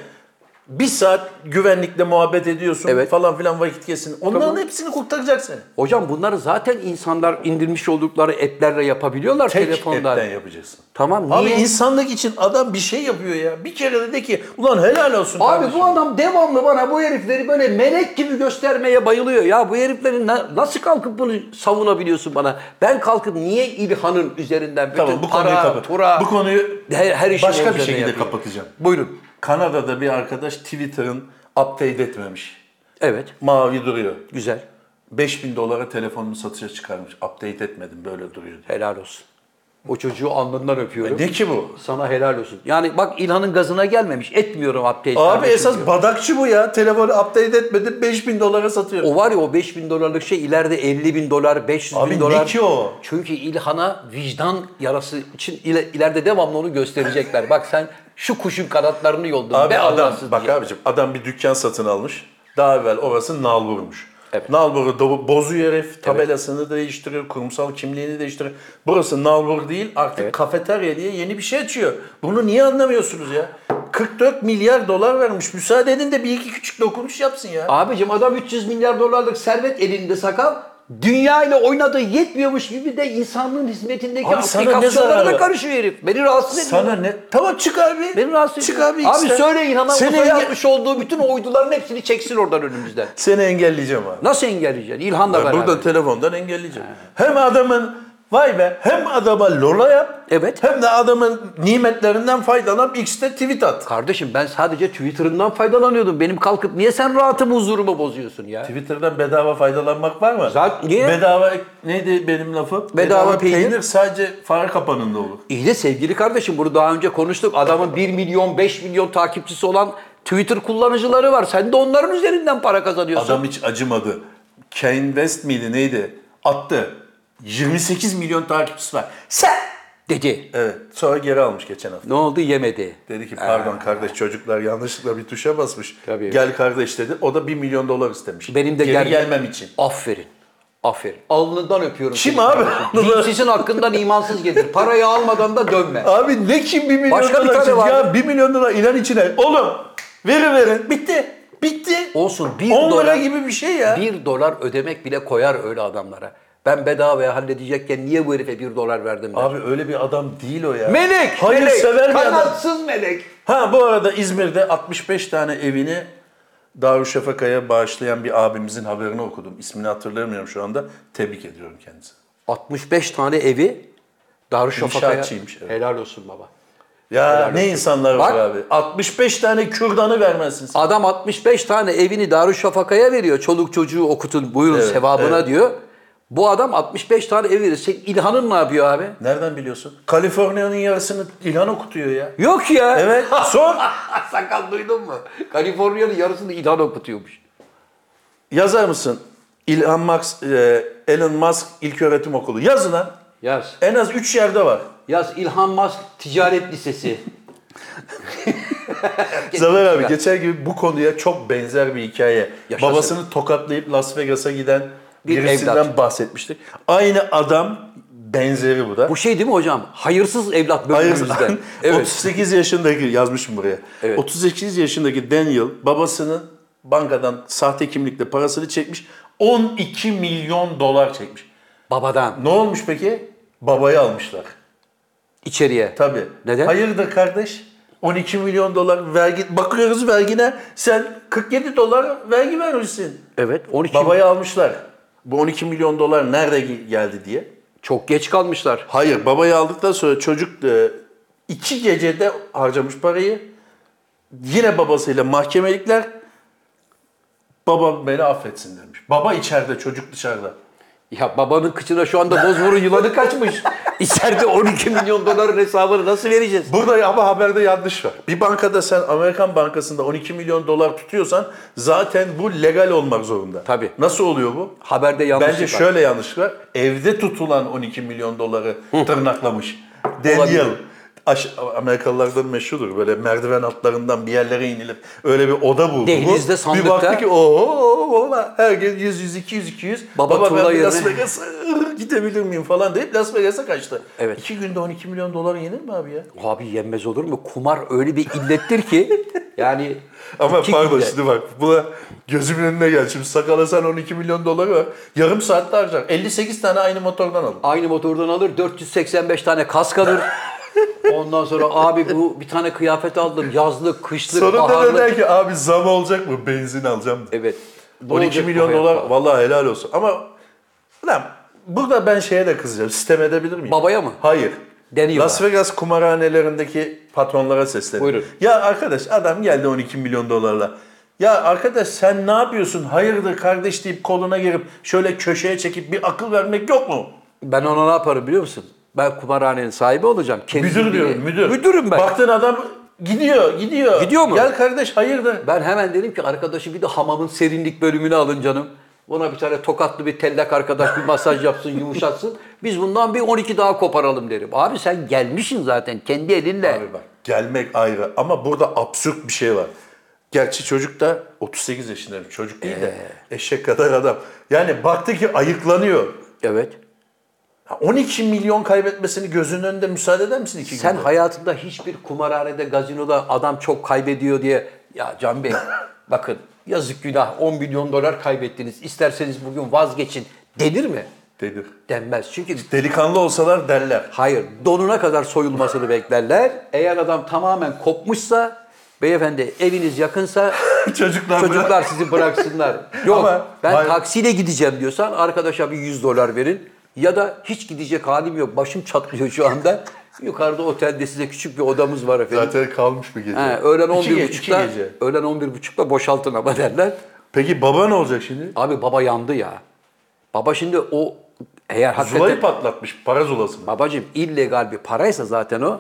Speaker 2: Bir saat güvenlikle muhabbet ediyorsun
Speaker 3: Evet.
Speaker 2: falan filan vakit geçsin. Onların
Speaker 3: Tamam.
Speaker 2: hepsini kurtaracak seni.
Speaker 3: Hocam bunları zaten insanlar indirmiş oldukları app'lerle yapabiliyorlar
Speaker 2: Tek
Speaker 3: telefondan.
Speaker 2: app'ten yapacaksın.
Speaker 3: Tamam niye?
Speaker 2: Abi insanlık için adam bir şey yapıyor ya. Bir kere de de ki ulan helal olsun
Speaker 3: Abi
Speaker 2: kardeşim."
Speaker 3: bu adam devamlı bana bu herifleri böyle melek gibi göstermeye bayılıyor. Ya bu herifleri na- nasıl kalkıp bunu savunabiliyorsun bana? Ben kalkıp niye İlhan'ın üzerinden bütün
Speaker 2: Tamam bu konuyu
Speaker 3: para,
Speaker 2: kapat.
Speaker 3: tura,
Speaker 2: Bu konuyu
Speaker 3: her, her işin
Speaker 2: başka bir
Speaker 3: üzerine
Speaker 2: şekilde
Speaker 3: yapıyorum.
Speaker 2: kapatacağım.
Speaker 3: Buyurun.
Speaker 2: Kanada'da bir arkadaş Twitter'ın update etmemiş.
Speaker 3: Evet,
Speaker 2: Mavi duruyor.
Speaker 3: güzel.
Speaker 2: 5000 dolara telefonumu satışa çıkarmış. Update etmedim böyle duruyor diye.
Speaker 3: Helal olsun. O çocuğu alnından öpüyorum.
Speaker 2: E Ne ki bu?
Speaker 3: Sana helal olsun. Yani bak İlhan'ın gazına gelmemiş. Etmiyorum update.
Speaker 2: Abi
Speaker 3: kardeşim
Speaker 2: esas
Speaker 3: diyor.
Speaker 2: badakçı bu ya. Telefonu update etmedim 5000 dolara satıyor.
Speaker 3: O var ya o 5000 dolarlık şey ileride 50 bin dolar, 500
Speaker 2: Abi
Speaker 3: bin
Speaker 2: ne
Speaker 3: dolar.
Speaker 2: ki o?
Speaker 3: Çünkü İlhan'a vicdan yarası için ile- ileride devamlı onu gösterecekler. Bak sen şu kuşun kanatlarını yoldun.
Speaker 2: Abi
Speaker 3: be
Speaker 2: adam
Speaker 3: Allahsız
Speaker 2: bak
Speaker 3: diye.
Speaker 2: abicim adam bir dükkan satın almış. Daha evvel orası Nalbur'muş.
Speaker 3: Evet.
Speaker 2: Nalbur'u do- bozuyor herif. Tabelasını değiştiriyor. Kurumsal kimliğini değiştiriyor. Burası Nalbur değil artık kafeterya diye yeni bir şey açıyor. Bunu niye anlamıyorsunuz ya? 44 milyar dolar vermiş. Müsaade edin de bir iki küçük dokunuş yapsın ya.
Speaker 3: Abicim adam 300 milyar dolarlık servet elinde sakal. Dünya ile oynadığı yetmiyormuş gibi de insanlığın hizmetindeki
Speaker 2: Abi sana ne
Speaker 3: aplikasyonlara da
Speaker 2: zararı?
Speaker 3: karışıyor herif. Beni rahatsız ediyor.
Speaker 2: Sana ne? Tamam çık abi.
Speaker 3: Beni rahatsız
Speaker 2: Çık
Speaker 3: ediyor.
Speaker 2: abi.
Speaker 3: Abi
Speaker 2: işte.
Speaker 3: söyle İlhan'a
Speaker 2: Seni
Speaker 3: Mustafa'ya
Speaker 2: enge-
Speaker 3: yapmış olduğu bütün o uyduların hepsini çeksin oradan önümüzden.
Speaker 2: Seni engelleyeceğim abi.
Speaker 3: Nasıl engelleyeceksin? İlhan'la beraber.
Speaker 2: Burada telefondan engelleyeceğim. Hem adamın vay be hem adama lola yap.
Speaker 3: Evet.
Speaker 2: Hem de adamın nimetlerinden faydalanıp X'te tweet at.
Speaker 3: Kardeşim ben sadece Twitter'ından faydalanıyordum. Benim kalkıp niye sen rahatımı huzurumu bozuyorsun ya?
Speaker 2: Twitter'dan bedava faydalanmak var mı?
Speaker 3: Zaten- niye?
Speaker 2: Bedava neydi benim lafım?
Speaker 3: Bedava peynir.
Speaker 2: sadece fare kapanında olur.
Speaker 3: İyi de sevgili kardeşim bunu daha önce konuştuk. Adamın 1 milyon 5 milyon takipçisi olan Twitter kullanıcıları var. Sen de onların üzerinden para kazanıyorsun.
Speaker 2: Adam hiç acımadı. Kane West miydi neydi? Attı. 28 milyon takipçisi var.
Speaker 3: sen dedi.
Speaker 2: Evet. Sonra geri almış geçen hafta.
Speaker 3: Ne oldu yemedi.
Speaker 2: Dedi ki pardon kardeş çocuklar yanlışlıkla bir tuşa basmış.
Speaker 3: Tabii.
Speaker 2: Gel kardeş dedi. O da 1 milyon dolar istemiş.
Speaker 3: Benim de
Speaker 2: Geri
Speaker 3: gel-
Speaker 2: gelmem için.
Speaker 3: Aferin. Aferin. Alnından öpüyorum
Speaker 2: Kim
Speaker 3: seni
Speaker 2: abi?
Speaker 3: kardeşim. Dinsizin hakkından imansız gelir. Parayı almadan da dönme.
Speaker 2: Abi ne kim 1 milyon
Speaker 3: Başka bir
Speaker 2: dolar
Speaker 3: tane
Speaker 2: için?
Speaker 3: var mı?
Speaker 2: Ya 1 milyon dolar inan içine. Oğlum veri verin. Bitti. Bitti.
Speaker 3: Olsun, bir
Speaker 2: 10
Speaker 3: dolar-
Speaker 2: lira gibi bir şey ya.
Speaker 3: 1 dolar ödemek bile koyar öyle adamlara. Ben bedavaya halledecekken niye bu herife 1 dolar verdim der.
Speaker 2: Abi öyle bir adam değil o ya.
Speaker 3: Melek! melek,
Speaker 2: Hayırsever bir adam.
Speaker 3: Kanatsız melek.
Speaker 2: Ha bu arada İzmir'de 65 tane evini Darüşşafaka'ya bağışlayan bir abimizin haberini okudum. İsmini hatırlamıyorum şu anda. Tebrik ediyorum kendisini.
Speaker 3: 65 tane evi Darüşşafaka'ya.
Speaker 2: İnşaatçıymış, evet.
Speaker 3: Helal olsun baba.
Speaker 2: Ya ne insanlar var
Speaker 3: Bak.
Speaker 2: abi. 65 tane kürdanı vermezsin sen.
Speaker 3: Adam 65 tane evini Darüşşafaka'ya veriyor. Çoluk çocuğu okutun buyurun
Speaker 2: Evet,
Speaker 3: sevabına diyor. Bu adam 65 tane ev veriyor. Senin İlhan'ın ne yapıyor abi?
Speaker 2: Nereden biliyorsun? Kaliforniya'nın yarısını İlhan okutuyor ya.
Speaker 3: Yok ya.
Speaker 2: Evet sor.
Speaker 3: Sakal duydun mu? Kaliforniya'nın yarısını İlhan okutuyormuş.
Speaker 2: Yazar mısın? İlhan Max, e, Elon Musk İlköğretim Okulu. Yazın ha.
Speaker 3: Yaz.
Speaker 2: En az 3 yerde var.
Speaker 3: Yaz İlhan Musk Ticaret Lisesi.
Speaker 2: Zafer abi geçen gibi bu konuya çok benzer bir hikaye.
Speaker 3: Yaşasın.
Speaker 2: Babasını tokatlayıp Las Vegas'a giden
Speaker 3: Bir
Speaker 2: birisinden
Speaker 3: evlat.
Speaker 2: bahsetmiştik. Aynı adam benzeri bu da.
Speaker 3: Bu şey değil mi hocam? Hayırsız evlat bölümümüzden.
Speaker 2: Hayır,
Speaker 3: Evet.
Speaker 2: 38 yaşındaki yazmışım buraya.
Speaker 3: Evet.
Speaker 2: 38 yaşındaki Daniel babasının bankadan sahte kimlikle parasını çekmiş. 12 milyon dolar çekmiş.
Speaker 3: Babadan
Speaker 2: Ne olmuş peki? Babayı almışlar.
Speaker 3: içeriye.
Speaker 2: Tabii.
Speaker 3: Neden?
Speaker 2: Hayırdır kardeş? 12 milyon dolar vergi bakıyoruz vergine. Sen 47 dolar vergi vermişsin.
Speaker 3: Evet. 12
Speaker 2: Babayı almışlar. Bu 12 milyon dolar nerede geldi diye.
Speaker 3: Çok geç kalmışlar.
Speaker 2: Hayır babayı aldıktan sonra çocuk e, iki gecede harcamış parayı. Yine babasıyla mahkemelikler. Baba beni affetsin demiş. Baba içeride çocuk dışarıda.
Speaker 3: Ya babanın kıçına şu anda bozburun yılanı kaçmış. İçeride 12 milyon doların hesabını nasıl vereceğiz?
Speaker 2: Burada ama haberde yanlış var. Bir bankada sen Amerikan bankasında 12 milyon dolar tutuyorsan zaten bu legal olmak zorunda.
Speaker 3: Tabii.
Speaker 2: Nasıl oluyor bu?
Speaker 3: Haberde yanlış
Speaker 2: Bence şöyle yanlış var. Evde tutulan 12 milyon doları tırnaklamış. Daniel. Aş- Amerikalılardan meşhurdur. Böyle merdiven altlarından bir yerlere inilip öyle bir oda buldu.
Speaker 3: Denizde,
Speaker 2: Bu.
Speaker 3: sandıkta.
Speaker 2: Bir baktı ki ooo herkes 100, 100, 200, 200.
Speaker 3: Baba
Speaker 2: Baba,
Speaker 3: Tuğla
Speaker 2: ben bir Las
Speaker 3: yerine-
Speaker 2: Vegas'a ıı, gidebilir miyim falan deyip Las Vegas'a kaçtı.
Speaker 3: Evet.
Speaker 2: İki günde 12 milyon dolar yenir mi abi ya?
Speaker 3: Abi yenmez olur mu? Kumar öyle bir illettir ki yani
Speaker 2: Ama
Speaker 3: iki
Speaker 2: pardon
Speaker 3: günde-
Speaker 2: şimdi bak buna gözümün önüne gel. Şimdi sakala sen 12 milyon doları var. Yarım saatte harcar. 58 tane aynı motordan alın.
Speaker 3: aynı motordan alır 485 tane kask alır. Ondan sonra abi bu bir tane kıyafet aldım yazlık, kışlık,
Speaker 2: Sonunda da E,
Speaker 3: baharlık.
Speaker 2: der ki abi zam olacak mı? Benzin alacağım. diye.
Speaker 3: Evet. Ne
Speaker 2: 12
Speaker 3: olacak
Speaker 2: milyon
Speaker 3: bu hayat
Speaker 2: dolar
Speaker 3: falan?
Speaker 2: vallahi helal olsun. Ama lan burada ben şeye de kızacağım. Sistem edebilir miyim?
Speaker 3: Babaya mı?
Speaker 2: Hayır.
Speaker 3: Deniyorlar.
Speaker 2: Las Vegas kumarhanelerindeki patronlara sesleniyorum.
Speaker 3: Buyurun.
Speaker 2: Ya arkadaş adam geldi 12 milyon dolarla. Ya arkadaş sen ne yapıyorsun? Hayırdır kardeş deyip koluna girip şöyle köşeye çekip bir akıl vermek yok mu?
Speaker 3: Ben ona ne yaparım biliyor musun? Ben kumarhanenin sahibi olacağım. Kendim
Speaker 2: Müdür
Speaker 3: diye-
Speaker 2: diyorum müdür.
Speaker 3: Müdürüm ben.
Speaker 2: Baktın adam gidiyor gidiyor.
Speaker 3: Gidiyor mu?
Speaker 2: Gel kardeş hayırdır?
Speaker 3: Ben hemen dedim ki arkadaşı bir de hamamın serinlik bölümünü alın canım. Buna bir tane tokatlı bir tellak arkadaş bir masaj yapsın, yumuşatsın. Biz bundan bir 12 daha koparalım derim. Abi sen gelmişsin zaten kendi elinle.
Speaker 2: Abi bak gelmek ayrı ama burada absürt bir şey var. Gerçi çocuk da 38 yaşında bir çocuk değil de
Speaker 3: Ee.
Speaker 2: eşek kadar adam. Yani baktı ki ayıklanıyor.
Speaker 3: Evet.
Speaker 2: Ha, 12 milyon kaybetmesini gözünün önünde müsaade eder misin iki
Speaker 3: Sen
Speaker 2: günde?
Speaker 3: hayatında hiçbir kumarhanede, gazinoda adam çok kaybediyor diye ya Can Bey bakın yazık günah 10 milyon dolar kaybettiniz. İsterseniz bugün vazgeçin denir mi?
Speaker 2: Dedir.
Speaker 3: Denmez. Çünkü
Speaker 2: Delikanlı olsalar derler.
Speaker 3: hayır donuna kadar soyulmasını beklerler. Eğer adam tamamen kopmuşsa beyefendi eviniz yakınsa
Speaker 2: Çocuklar bırak-
Speaker 3: çocuklar sizi bıraksınlar. Yok
Speaker 2: Ama-
Speaker 3: ben
Speaker 2: Hayır.
Speaker 3: taksiyle gideceğim diyorsan arkadaşa bir 100 dolar verin. Ya da hiç gidecek halim yok. Başım çatlıyor şu anda. Yukarıda otelde size küçük bir odamız var efendim.
Speaker 2: Zaten kalmış bir gece.
Speaker 3: He, öğlen
Speaker 2: İki ge- iki
Speaker 3: 11.30'da
Speaker 2: gece.
Speaker 3: öğlen 11.30'da boşaltın ama derler.
Speaker 2: Peki baba ne olacak şimdi?
Speaker 3: Abi baba yandı ya. Baba şimdi o eğer hakikaten
Speaker 2: Zulayı patlatmış para zulasını.
Speaker 3: babacığım illegal bir paraysa zaten o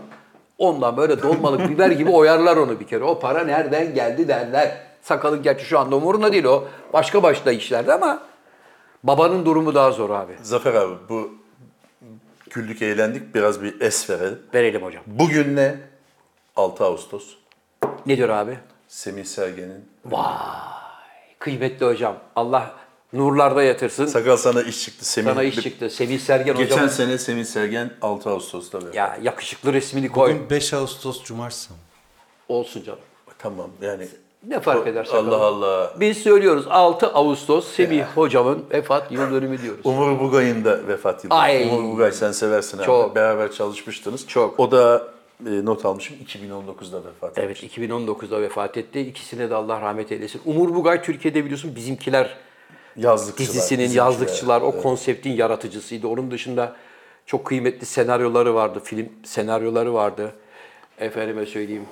Speaker 3: ondan böyle dolmalık biber gibi oyarlar onu bir kere. O para nereden geldi derler. Sakalın gerçi şu anda umurunda değil o. Başka başka işlerde ama babanın durumu daha zor abi.
Speaker 2: Zafer abi bu güldük eğlendik biraz bir es verelim.
Speaker 3: Verelim hocam.
Speaker 2: Bugün ne? 6 Ağustos.
Speaker 3: Nedir abi?
Speaker 2: Semih Sergen'in.
Speaker 3: Kıymetli hocam. Allah nurlarda yatırsın.
Speaker 2: Sakal sana iş çıktı Semih.
Speaker 3: Sana iş çıktı. Sevil Sergen
Speaker 2: Geçen
Speaker 3: hocam.
Speaker 2: sene Semih Sergen 6 Ağustos'ta verdi.
Speaker 3: Ya yakışıklı resmini koy.
Speaker 4: Bugün 5 Ağustos Cumartesi mi?
Speaker 3: Olsun canım.
Speaker 2: Tamam yani.
Speaker 3: Ne fark eder sakal?
Speaker 2: Allah Allah.
Speaker 3: Biz söylüyoruz 6 Ağustos Semih hocamın vefat yıl dönümü diyoruz.
Speaker 2: Umur Bugay'ın da vefat yılı.
Speaker 3: Ay.
Speaker 2: Umur Bugay sen seversin
Speaker 3: Çok.
Speaker 2: abi. Beraber çalışmıştınız.
Speaker 3: Çok.
Speaker 2: O da e, not almışım 2019'da vefat
Speaker 3: Evet 2019'da vefat etti. İkisine de Allah rahmet eylesin. Umur Bugay Türkiye'de biliyorsun bizimkiler
Speaker 2: Yazlıkçılar.
Speaker 3: dizisinin
Speaker 2: bizimkiler.
Speaker 3: yazlıkçılar o konseptin yaratıcısıydı. Onun dışında çok kıymetli senaryoları vardı. Film senaryoları vardı. Efendime söyleyeyim.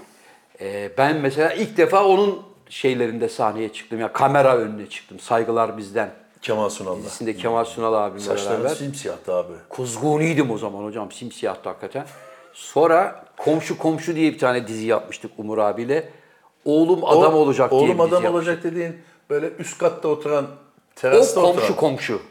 Speaker 3: Ee, ben mesela ilk defa onun şeylerinde sahneye çıktım. Ya kamera önüne çıktım. Saygılar bizden.
Speaker 2: Kemal Sunal'la.
Speaker 3: Dizisinde Kemal Sunal abimle
Speaker 2: Saçların
Speaker 3: beraber.
Speaker 2: simsiyahtı abi.
Speaker 3: Kuzguniydim o zaman hocam. Simsiyahtı hakikaten. Sonra Komşu Komşu diye bir tane dizi yapmıştık Umur abiyle. Oğlum Adam
Speaker 2: O-
Speaker 3: Olacak diye
Speaker 2: Oğlum
Speaker 3: bir dizi
Speaker 2: adam
Speaker 3: yapmıştık.
Speaker 2: olacak dediğin böyle üst katta oturan,
Speaker 3: O
Speaker 2: terasta oturan.
Speaker 3: Komşu Komşu.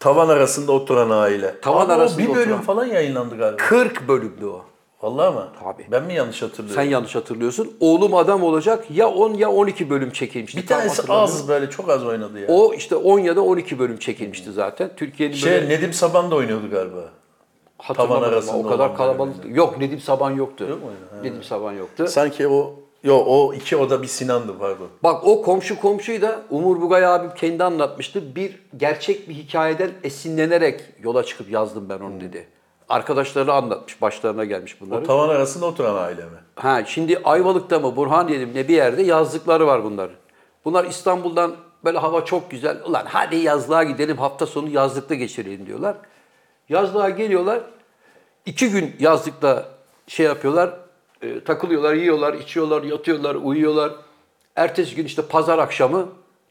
Speaker 2: Tavan arasında oturan aile.
Speaker 3: Tavan
Speaker 2: Ama o
Speaker 3: arasında
Speaker 2: bir bölüm
Speaker 3: oturan.
Speaker 2: falan yayınlandı galiba.
Speaker 3: 40 bölümdü o.
Speaker 2: Vallahi mı?
Speaker 3: Tabii.
Speaker 2: Ben mi yanlış hatırlıyorum?
Speaker 3: Sen yanlış hatırlıyorsun. Oğlum Adam Olacak ya 10 ya 12 bölüm çekilmişti.
Speaker 2: Bir
Speaker 3: Tam
Speaker 2: tanesi
Speaker 3: hatırlamıyorum.
Speaker 2: az böyle çok az oynadı ya.
Speaker 3: O işte 10 ya da 12 bölüm çekilmişti zaten. Türkiye'nin
Speaker 2: şey
Speaker 3: böyle
Speaker 2: Nedim Saban da oynuyordu galiba.
Speaker 3: hatırlamadım
Speaker 2: tavan
Speaker 3: ama
Speaker 2: arasında
Speaker 3: o kadar
Speaker 2: olan
Speaker 3: kalabalık. Yok Nedim Saban yoktu. Nedim Saban yoktu.
Speaker 2: Sanki o yo o iki oda bir Sinan'dı pardon.
Speaker 3: Bak o komşu komşuyu da Umur Bugay abim kendi anlatmıştı. Bir gerçek bir hikayeden esinlenerek yola çıkıp yazdım ben onu dedi. Arkadaşları anlatmış, başlarına gelmiş bunları.
Speaker 2: Tavan arasında oturan aile mi?
Speaker 3: Ha şimdi Ayvalık'ta mı Burhaniye'de mi ne bir yerde yazdıkları var bunların. Bunlar İstanbul'dan Böyle hava çok güzel. Ulan hadi yazlığa gidelim hafta sonu yazlıkta geçirelim diyorlar. Yazlığa geliyorlar. iki gün yazlıkta şey yapıyorlar. e, takılıyorlar, yiyorlar, içiyorlar, yatıyorlar, uyuyorlar. Ertesi gün işte pazar akşamı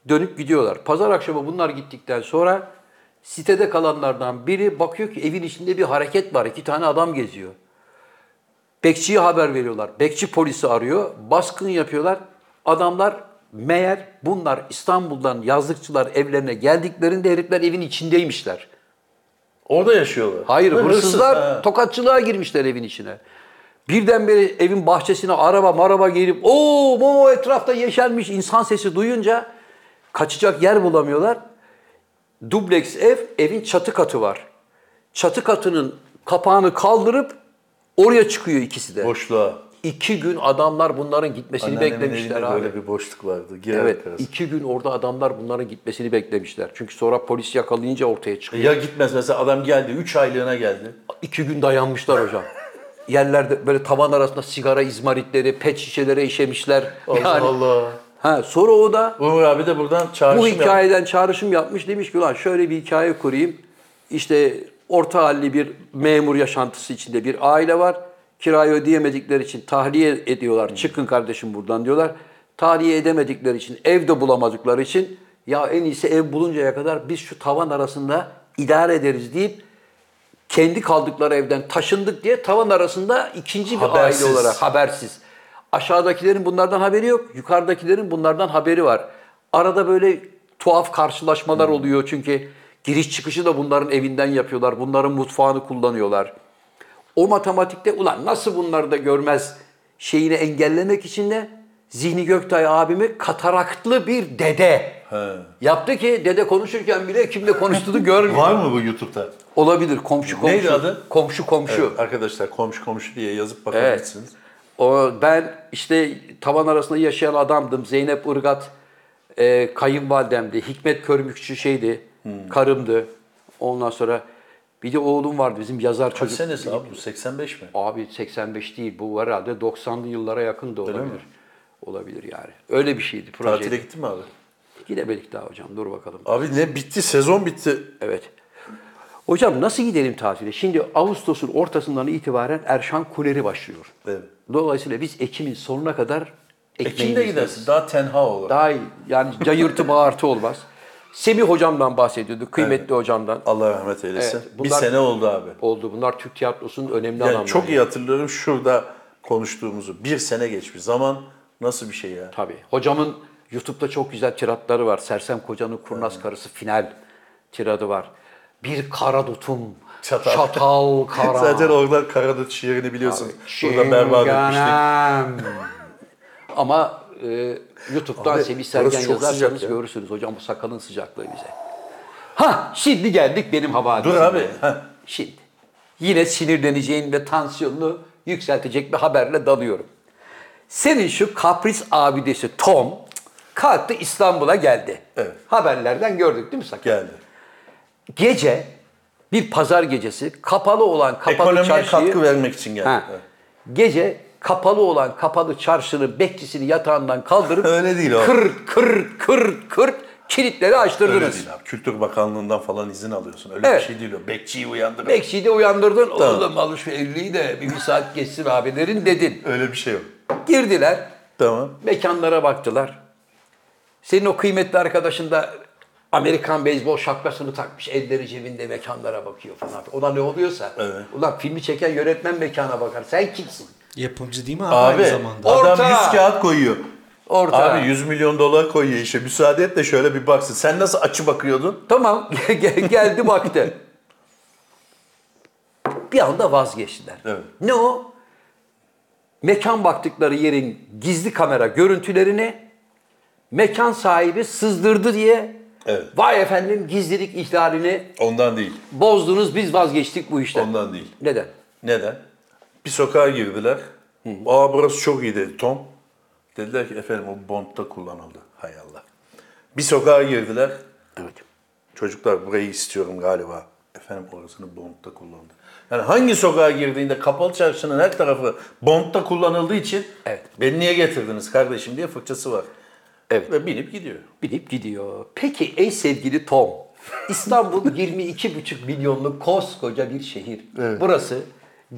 Speaker 3: dönüp gidiyorlar. Pazar akşamı bunlar gittikten sonra sitede kalanlardan biri bakıyor ki evin içinde bir hareket var. iki tane adam geziyor. Bekçiye haber veriyorlar. Bekçi polisi arıyor. Baskın yapıyorlar. Adamlar meğer bunlar İstanbul'dan yazlıkçılar evlerine geldiklerinde herifler evin içindeymişler.
Speaker 2: Orada yaşıyorlar.
Speaker 3: Hayır
Speaker 2: Ha, hırsız.
Speaker 3: hırsızlar
Speaker 2: Ha.
Speaker 3: tokatçılığa girmişler evin içine. Birdenbire evin bahçesine araba maraba gelip o mo etrafta yeşermiş insan sesi duyunca kaçacak yer bulamıyorlar. Dubleks ev, evin çatı katı var. Çatı katının kapağını kaldırıp oraya çıkıyor ikisi de.
Speaker 2: Boşluğa.
Speaker 3: İki gün adamlar bunların gitmesini
Speaker 2: Anneannemin
Speaker 3: beklemişler
Speaker 2: evinde
Speaker 3: abi.
Speaker 2: Böyle bir boşluk vardı. Girer
Speaker 3: Evet,
Speaker 2: arası.
Speaker 3: iki gün orada adamlar bunların gitmesini beklemişler. Çünkü sonra polis yakalayınca ortaya çıkıyor.
Speaker 2: E, Ya gitmez mesela adam geldi 3 aylığına geldi.
Speaker 3: İki gün dayanmışlar hocam. Yerlerde böyle tavan arasında sigara izmaritleri, pet şişelere işemişler.
Speaker 2: Allah
Speaker 3: Yani-
Speaker 2: Allah.
Speaker 3: Ha, sonra o da
Speaker 2: Umur abi de buradan çağrışım
Speaker 3: bu
Speaker 2: yaptı.
Speaker 3: hikayeden çağrışım yapmış. Demiş ki ulan şöyle bir hikaye kurayım. İşte orta halli bir memur yaşantısı içinde bir aile var. Kirayı ödeyemedikleri için tahliye ediyorlar. Çıkın kardeşim buradan diyorlar. Tahliye edemedikleri için, ev de bulamadıkları için ya en iyisi ev buluncaya kadar biz şu tavan arasında idare ederiz deyip kendi kaldıkları evden taşındık diye tavan arasında ikinci bir
Speaker 2: Habersiz.
Speaker 3: aile olarak habersiz. Aşağıdakilerin bunlardan haberi yok. Yukarıdakilerin bunlardan haberi var. Arada böyle tuhaf karşılaşmalar oluyor çünkü giriş çıkışı da bunların evinden yapıyorlar. Bunların mutfağını kullanıyorlar. O matematikte ulan nasıl bunları da görmez şeyini engellemek için de Zihni Göktay abimi kataraktlı bir dede yaptı ki dede konuşurken bile kimle konuştuğunu görmüyor.
Speaker 2: Var mı bu YouTube'da?
Speaker 3: Olabilir komşu komşu.
Speaker 2: Neydi adı?
Speaker 3: Komşu komşu.
Speaker 2: Evet, arkadaşlar komşu komşu diye yazıp
Speaker 3: Evet.
Speaker 2: bakabilirsiniz.
Speaker 3: O, ben işte tavan arasında yaşayan adamdım. Zeynep Irgat e, kayınvalidemdi. Hikmet Körmükçü şeydi.
Speaker 2: Hmm.
Speaker 3: Karımdı. Ondan sonra bir de oğlum vardı bizim yazar
Speaker 2: Kaç
Speaker 3: çocuk.
Speaker 2: senesi abi bu? 85 mi?
Speaker 3: Abi 85 değil bu herhalde 90'lı yıllara yakın da
Speaker 2: mi?
Speaker 3: olabilir. Olabilir yani. Öyle bir şeydi proje.
Speaker 2: Tatile gittin mi abi?
Speaker 3: Gidemedik daha hocam dur bakalım.
Speaker 2: Abi ne bitti? Sezon bitti.
Speaker 3: Evet. Hocam nasıl gidelim tatile? Şimdi Ağustos'un ortasından itibaren Erşan Kuleri başlıyor.
Speaker 2: Evet.
Speaker 3: Dolayısıyla biz Ekim'in sonuna kadar
Speaker 2: Ekim'de
Speaker 3: ekmeğimizdeyiz.
Speaker 2: gidersin. Daha tenha olur.
Speaker 3: Daha iyi. Yani cayırtı bağırtı olmaz. Semih hocamdan bahsediyorduk. Kıymetli hocamdan
Speaker 2: Allah rahmet eylesin.
Speaker 3: Evet,
Speaker 2: Bir
Speaker 3: bunlar-
Speaker 2: sene oldu abi.
Speaker 3: oldu. Bunlar Türk tiyatrosunun önemli
Speaker 2: Yani
Speaker 3: adamları.
Speaker 2: çok iyi hatırlıyorum şurada konuştuğumuzu. Bir sene geçmiş. Zaman nasıl bir şey ya?
Speaker 3: Tabii. Hocamın YouTube'da çok güzel tiratları var. Sersem Koca'nın Kurnaz Karısı final tiradı var. Bir kara dutum,
Speaker 2: Çatal.
Speaker 3: çatal, kara.
Speaker 2: Zaten oradan Karadut şiirini biliyorsunuz. Burada
Speaker 3: Şinganem.
Speaker 2: berbat etmiştik.
Speaker 3: Ama e, YouTube'dan
Speaker 2: Abi,
Speaker 3: Semih
Speaker 2: orası
Speaker 3: Sergen
Speaker 2: çok
Speaker 3: yazarsanız
Speaker 2: sıcak ya.
Speaker 3: görürsünüz. Hocam bu sakalın sıcaklığı bize. Ha şimdi geldik benim havadisime.
Speaker 2: Dur abi. Heh.
Speaker 3: Şimdi yine sinirleneceğin ve tansiyonunu yükseltecek bir haberle dalıyorum. Senin şu kapris abidesi Tom kalktı İstanbul'a geldi.
Speaker 2: Evet.
Speaker 3: Haberlerden gördük değil mi sakal?
Speaker 2: Geldi.
Speaker 3: Gece bir pazar gecesi kapalı olan kapalı
Speaker 2: Ekonomiye
Speaker 3: çarşıyı
Speaker 2: katkı vermek için geldi.
Speaker 3: Ha.
Speaker 2: Evet.
Speaker 3: Gece kapalı olan kapalı çarşının bekçisini yatağından kaldırıp
Speaker 2: Öyle değil o.
Speaker 3: kır kır kır kır kilitleri açtırdınız.
Speaker 2: Öyle değil abi. Kültür Bakanlığından falan izin alıyorsun. Öyle
Speaker 3: Evet.
Speaker 2: bir şey değil o. Bekçiyi uyandırır.
Speaker 3: Bekçiyi de uyandırdın. Oğlum al şu 50'yi de bir, bir saat geçsin abilerin dedin.
Speaker 2: Öyle bir şey yok.
Speaker 3: Girdiler.
Speaker 2: Tamam.
Speaker 3: Mekanlara baktılar. Senin o kıymetli arkadaşın da Amerikan beyzbol şapkasını takmış. Elleri cebinde mekanlara bakıyor falan. Ona ne oluyorsa.
Speaker 2: Evet.
Speaker 3: Ulan filmi çeken yönetmen mekana bakar. Sen kimsin?
Speaker 4: Yapımcı değil mi abi,
Speaker 2: Abi
Speaker 4: aynı zamanda?
Speaker 2: adam
Speaker 3: Orta.
Speaker 2: 100 kağıt koyuyor.
Speaker 3: Orta.
Speaker 2: Abi 100 milyon dolar koyuyor işe. Müsaade et de şöyle bir baksın. Sen nasıl açı bakıyordun?
Speaker 3: Tamam gel- geldi baktı. Bir anda vazgeçtiler.
Speaker 2: Evet.
Speaker 3: Ne o? Mekan baktıkları yerin gizli kamera görüntülerini mekan sahibi sızdırdı diye
Speaker 2: Evet.
Speaker 3: vay efendim gizlilik ihlalini
Speaker 2: Ondan değil.
Speaker 3: bozdunuz biz vazgeçtik bu işten.
Speaker 2: Ondan değil.
Speaker 3: Neden?
Speaker 2: Neden? Bir sokağa girdiler. Aa burası çok iyi dedi Tom. Dediler ki efendim o Bond'da kullanıldı. Hay Allah. Bir sokağa girdiler.
Speaker 3: Evet.
Speaker 2: Çocuklar burayı istiyorum galiba. Efendim orasını Bond'da kullandı. Yani hangi sokağa girdiğinde kapalı çarşının her tarafı Bond'da kullanıldığı için
Speaker 3: Evet.
Speaker 2: beni niye getirdiniz kardeşim diye fırçası var.
Speaker 3: Evet.
Speaker 2: Ve binip gidiyor.
Speaker 3: Bilip gidiyor. Peki ey sevgili Tom, İstanbul 22,5 milyonluk koskoca bir şehir. Burası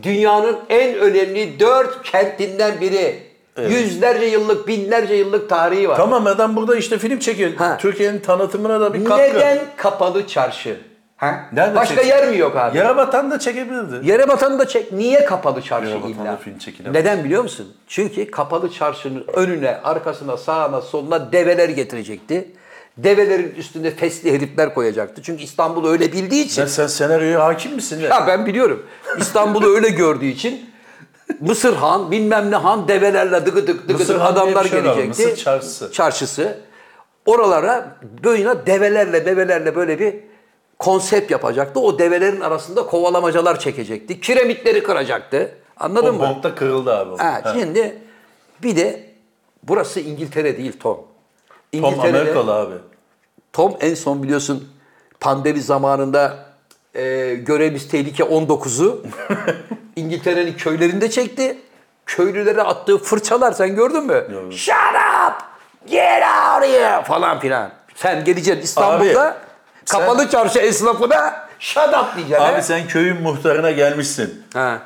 Speaker 3: dünyanın en önemli dört kentinden biri. Yüzlerce yıllık, binlerce yıllık tarihi var.
Speaker 2: Tamam adam burada işte film çekiyor.
Speaker 3: Ha.
Speaker 2: Türkiye'nin tanıtımına da bir katkı.
Speaker 3: Neden kapalı çarşı? Ha?
Speaker 2: Nerede
Speaker 3: Başka
Speaker 2: çekecek?
Speaker 3: yer mi yok abi?
Speaker 2: Yerebatan da çekebilirdi.
Speaker 3: Yere batanı da çek. Niye kapalı çarşı
Speaker 2: Yere batanı
Speaker 3: illa?
Speaker 2: film çekilemez.
Speaker 3: Neden biliyor musun? Çünkü kapalı çarşının önüne, arkasına, sağına, soluna develer getirecekti. Develerin üstünde fesli herifler koyacaktı. Çünkü İstanbul öyle bildiği için.
Speaker 2: Sen, sen senaryoya hakim misin? ya?
Speaker 3: Ya ben biliyorum. İstanbul'u öyle gördüğü için Mısır Han, bilmem ne Han develerle dıgı dık dıgı
Speaker 2: Mısır
Speaker 3: dık
Speaker 2: Han diye
Speaker 3: adamlar
Speaker 2: bir şey var,
Speaker 3: gelecekti.
Speaker 2: Mısır çarşısı.
Speaker 3: Çarşısı. Oralara böyle develerle bebelerle böyle bir konsept yapacaktı. O develerin arasında kovalamacalar çekecekti. Kiremitleri kıracaktı.
Speaker 2: O
Speaker 3: Anladın mı?
Speaker 2: bonkta kırıldı abi. o.
Speaker 3: Ha,
Speaker 2: Ha.
Speaker 3: şimdi bir de burası İngiltere değil Tom.
Speaker 2: Tom
Speaker 3: İngiltere'de-
Speaker 2: Amerikalı abi.
Speaker 3: Tom en son biliyorsun pandemi zamanında e, görevimiz tehlike 19'u İngiltere'nin köylerinde çekti. Köylülere attığı fırçalar sen gördün mü? Shut up! Get out here! Falan filan. Sen geleceksin İstanbul'da
Speaker 2: Abi,
Speaker 3: kapalı çarşı esnafına shut up diyeceksin.
Speaker 2: Abi
Speaker 3: he?
Speaker 2: sen köyün muhtarına gelmişsin.
Speaker 3: Ha,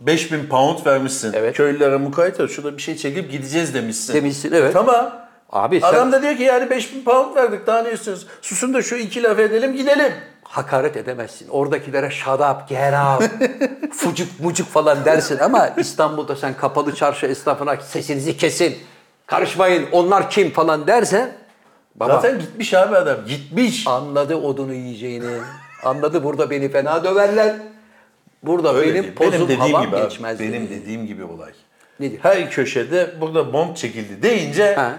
Speaker 2: 5000 pound vermişsin.
Speaker 3: Evet.
Speaker 2: Köylülere mukayyet ol. Şurada bir şey çekip gideceğiz demişsin.
Speaker 3: Demişsin, evet.
Speaker 2: Tamam.
Speaker 3: Abi sen
Speaker 2: Adam da diyor ki yani 5000 pound verdik daha ne istiyorsunuz? Susun da şu iki laf edelim gidelim.
Speaker 3: hakaret edemezsin. Oradakilere shut up, get out, fucuk mucuk falan dersin ama İstanbul'da sen kapalı çarşı esnafına sesinizi kesin, karışmayın, onlar kim falan dersen baba
Speaker 2: Zaten gitmiş abi adam gitmiş.
Speaker 3: anladı odunu yiyeceğini, anladı burada beni fena döverler. Burada
Speaker 2: Öyle
Speaker 3: benim
Speaker 2: değil.
Speaker 3: pozum havam
Speaker 2: abi,
Speaker 3: geçmez.
Speaker 2: Benim
Speaker 3: dedi.
Speaker 2: dediğim gibi olay.
Speaker 3: Nedir?
Speaker 2: Her köşede burada bomb çekildi deyince
Speaker 3: Ha.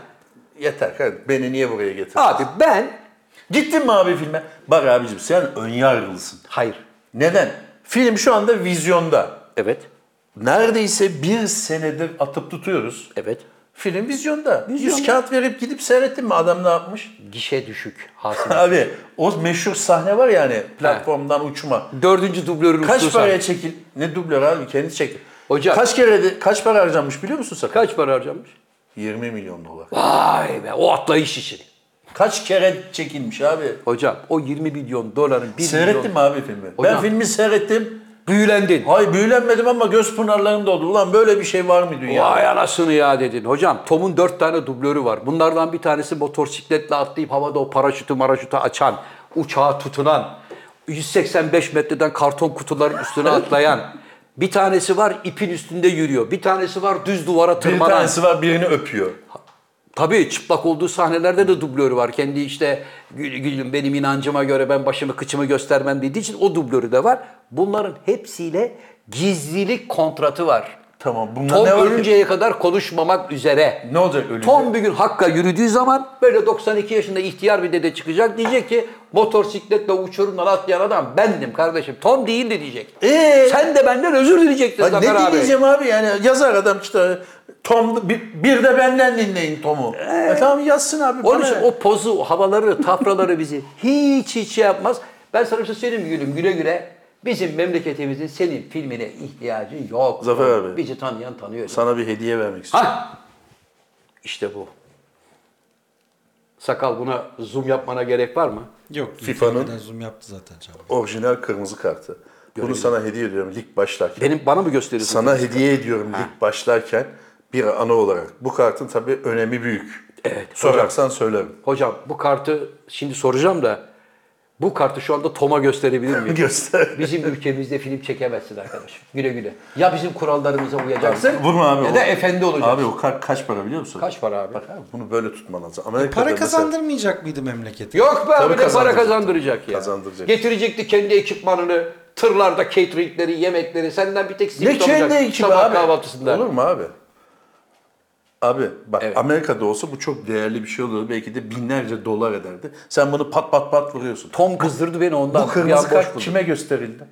Speaker 2: yeter kardeşim beni niye buraya getirdin?
Speaker 3: Abi ben,
Speaker 2: Gittin mi abi filme? Bak abicim sen önyargılısın.
Speaker 3: hayır,
Speaker 2: Neden? Film şu anda vizyonda.
Speaker 3: evet,
Speaker 2: Neredeyse bir senedir atıp tutuyoruz.
Speaker 3: evet.
Speaker 2: Film vizyonda.
Speaker 3: Vizyonda.
Speaker 2: 100 kağıt verip gidip seyrettin mi adam ne yapmış?
Speaker 3: Gişe düşük hasıl.
Speaker 2: Abi o meşhur sahne var yani platformdan uçma.
Speaker 3: Dördüncü dublörün
Speaker 2: Kaç
Speaker 3: usturusu.
Speaker 2: paraya çekil? Ne dublör abi kendi çekti.
Speaker 3: Hocam.
Speaker 2: Kaç kere de, kaç para harcanmış biliyor musun sakın?
Speaker 3: Kaç para harcamış?
Speaker 2: 20 milyon dolar.
Speaker 3: Vay be o atlayış işi.
Speaker 2: Kaç kere çekilmiş abi?
Speaker 3: Hocam o 20 milyon doların 1
Speaker 2: Seyrettin
Speaker 3: milyon...
Speaker 2: mi abi filmi?
Speaker 3: Hocam.
Speaker 2: Ben filmi seyrettim.
Speaker 3: Büyülendin.
Speaker 2: Ay büyülenmedim ama göz pınarlarım doldu. Ulan böyle bir şey var mı dünyada?
Speaker 3: Vay anasını ya dedin. Hocam Tom'un dört tane dublörü var. Bunlardan bir tanesi motosikletle atlayıp havada o paraşütü maraşütü açan, uçağa tutunan, 185 metreden karton kutuların üstüne atlayan. Bir tanesi var ipin üstünde yürüyor. Bir tanesi var düz duvara
Speaker 2: Bir
Speaker 3: tırmanan.
Speaker 2: tanesi var birini öpüyor.
Speaker 3: Tabii çıplak olduğu sahnelerde de dublörü var. Kendi işte "Gül- gülüm benim inancıma göre ben başımı kıçımı göstermem dediği için o dublörü de var. Bunların hepsiyle gizlilik kontratı var.
Speaker 2: Tamam bunda
Speaker 3: Tom
Speaker 2: ne var? ki?
Speaker 3: ölünceye kadar konuşmamak üzere.
Speaker 2: Ne olacak ölünce?
Speaker 3: Tom bir gün Hakk'a yürüdüğü zaman böyle 92 yaşında ihtiyar bir dede çıkacak. Diyecek ki motosikletle uçurumdan atlayan adam bendim kardeşim. Tom değildi diyecek.
Speaker 2: Ee?
Speaker 3: Sen de benden özür dileyecektin
Speaker 2: Ay,
Speaker 3: Zafer
Speaker 2: ne
Speaker 3: abi.
Speaker 2: diyeceğim abi yani yazar adam işte Tom bir, bir de benden dinleyin Tom'u. E tamam yazsın abi.
Speaker 3: Ee. Onun
Speaker 2: bana
Speaker 3: için
Speaker 2: ne?
Speaker 3: o pozu, o havaları, tafraları bizi hiç hiç şey yapmaz. Ben sana bir şey söyleyeyim mi gülüm güle güle. Bizim memleketimizin senin filmine ihtiyacı yok.
Speaker 2: Zafer abi.
Speaker 3: Bizi tanıyan tanıyor.
Speaker 2: Sana bir hediye vermek istiyorum.
Speaker 3: Ha! İşte bu. Sakal buna zoom yapmana gerek var mı?
Speaker 4: Yok.
Speaker 2: FIFA'nın-
Speaker 4: FIFA'nın zoom yaptı zaten canım.
Speaker 2: Orijinal kırmızı kartı. Bunu sana hediye ediyorum lig başlarken.
Speaker 3: Benim bana mı gösteriyorsun?
Speaker 2: Sana hediye ediyorum lig başlarken bir ana olarak. Bu kartın tabii önemi büyük. Evet. Sorarsan söylerim.
Speaker 3: Hocam bu kartı şimdi soracağım da bu kartı şu anda Tom'a gösterebilir miyim?
Speaker 2: Göster.
Speaker 3: Bizim ülkemizde film çekemezsin arkadaşım. Güle güle. Ya bizim kurallarımıza uyacaksın
Speaker 2: Vurma abi.
Speaker 3: ya
Speaker 2: o-
Speaker 3: da efendi olacaksın.
Speaker 2: Abi o kart kaç para biliyor musun?
Speaker 3: Kaç para abi? E,
Speaker 2: Bunu böyle tutman lazım. Amerika'da
Speaker 4: Para
Speaker 2: mesela-
Speaker 4: kazandırmayacak mıydı memlekete?
Speaker 3: Yok be abi
Speaker 2: Tabii
Speaker 3: ne para
Speaker 2: kazandıracak.
Speaker 3: kazandıracak ya.
Speaker 2: Kazandıracak.
Speaker 3: Getirecekti kendi ekipmanını, tırlarda cateringleri, yemekleri, senden bir tek simit
Speaker 2: Ne
Speaker 3: alacak.
Speaker 2: kendi ekibi
Speaker 3: sabah
Speaker 2: abi?
Speaker 3: kahvaltısında.
Speaker 2: Olur mu abi? Abi bak
Speaker 3: Evet.
Speaker 2: Amerika'da olsa bu çok değerli bir şey olurdu. Belki de binlerce dolar ederdi. Sen bunu pat pat pat vuruyorsun.
Speaker 3: Tom kızdırdı beni ondan.
Speaker 2: Bu
Speaker 3: Bir an
Speaker 2: kırmızı
Speaker 3: boş
Speaker 2: kart
Speaker 3: buldum.
Speaker 2: kime gösterildi?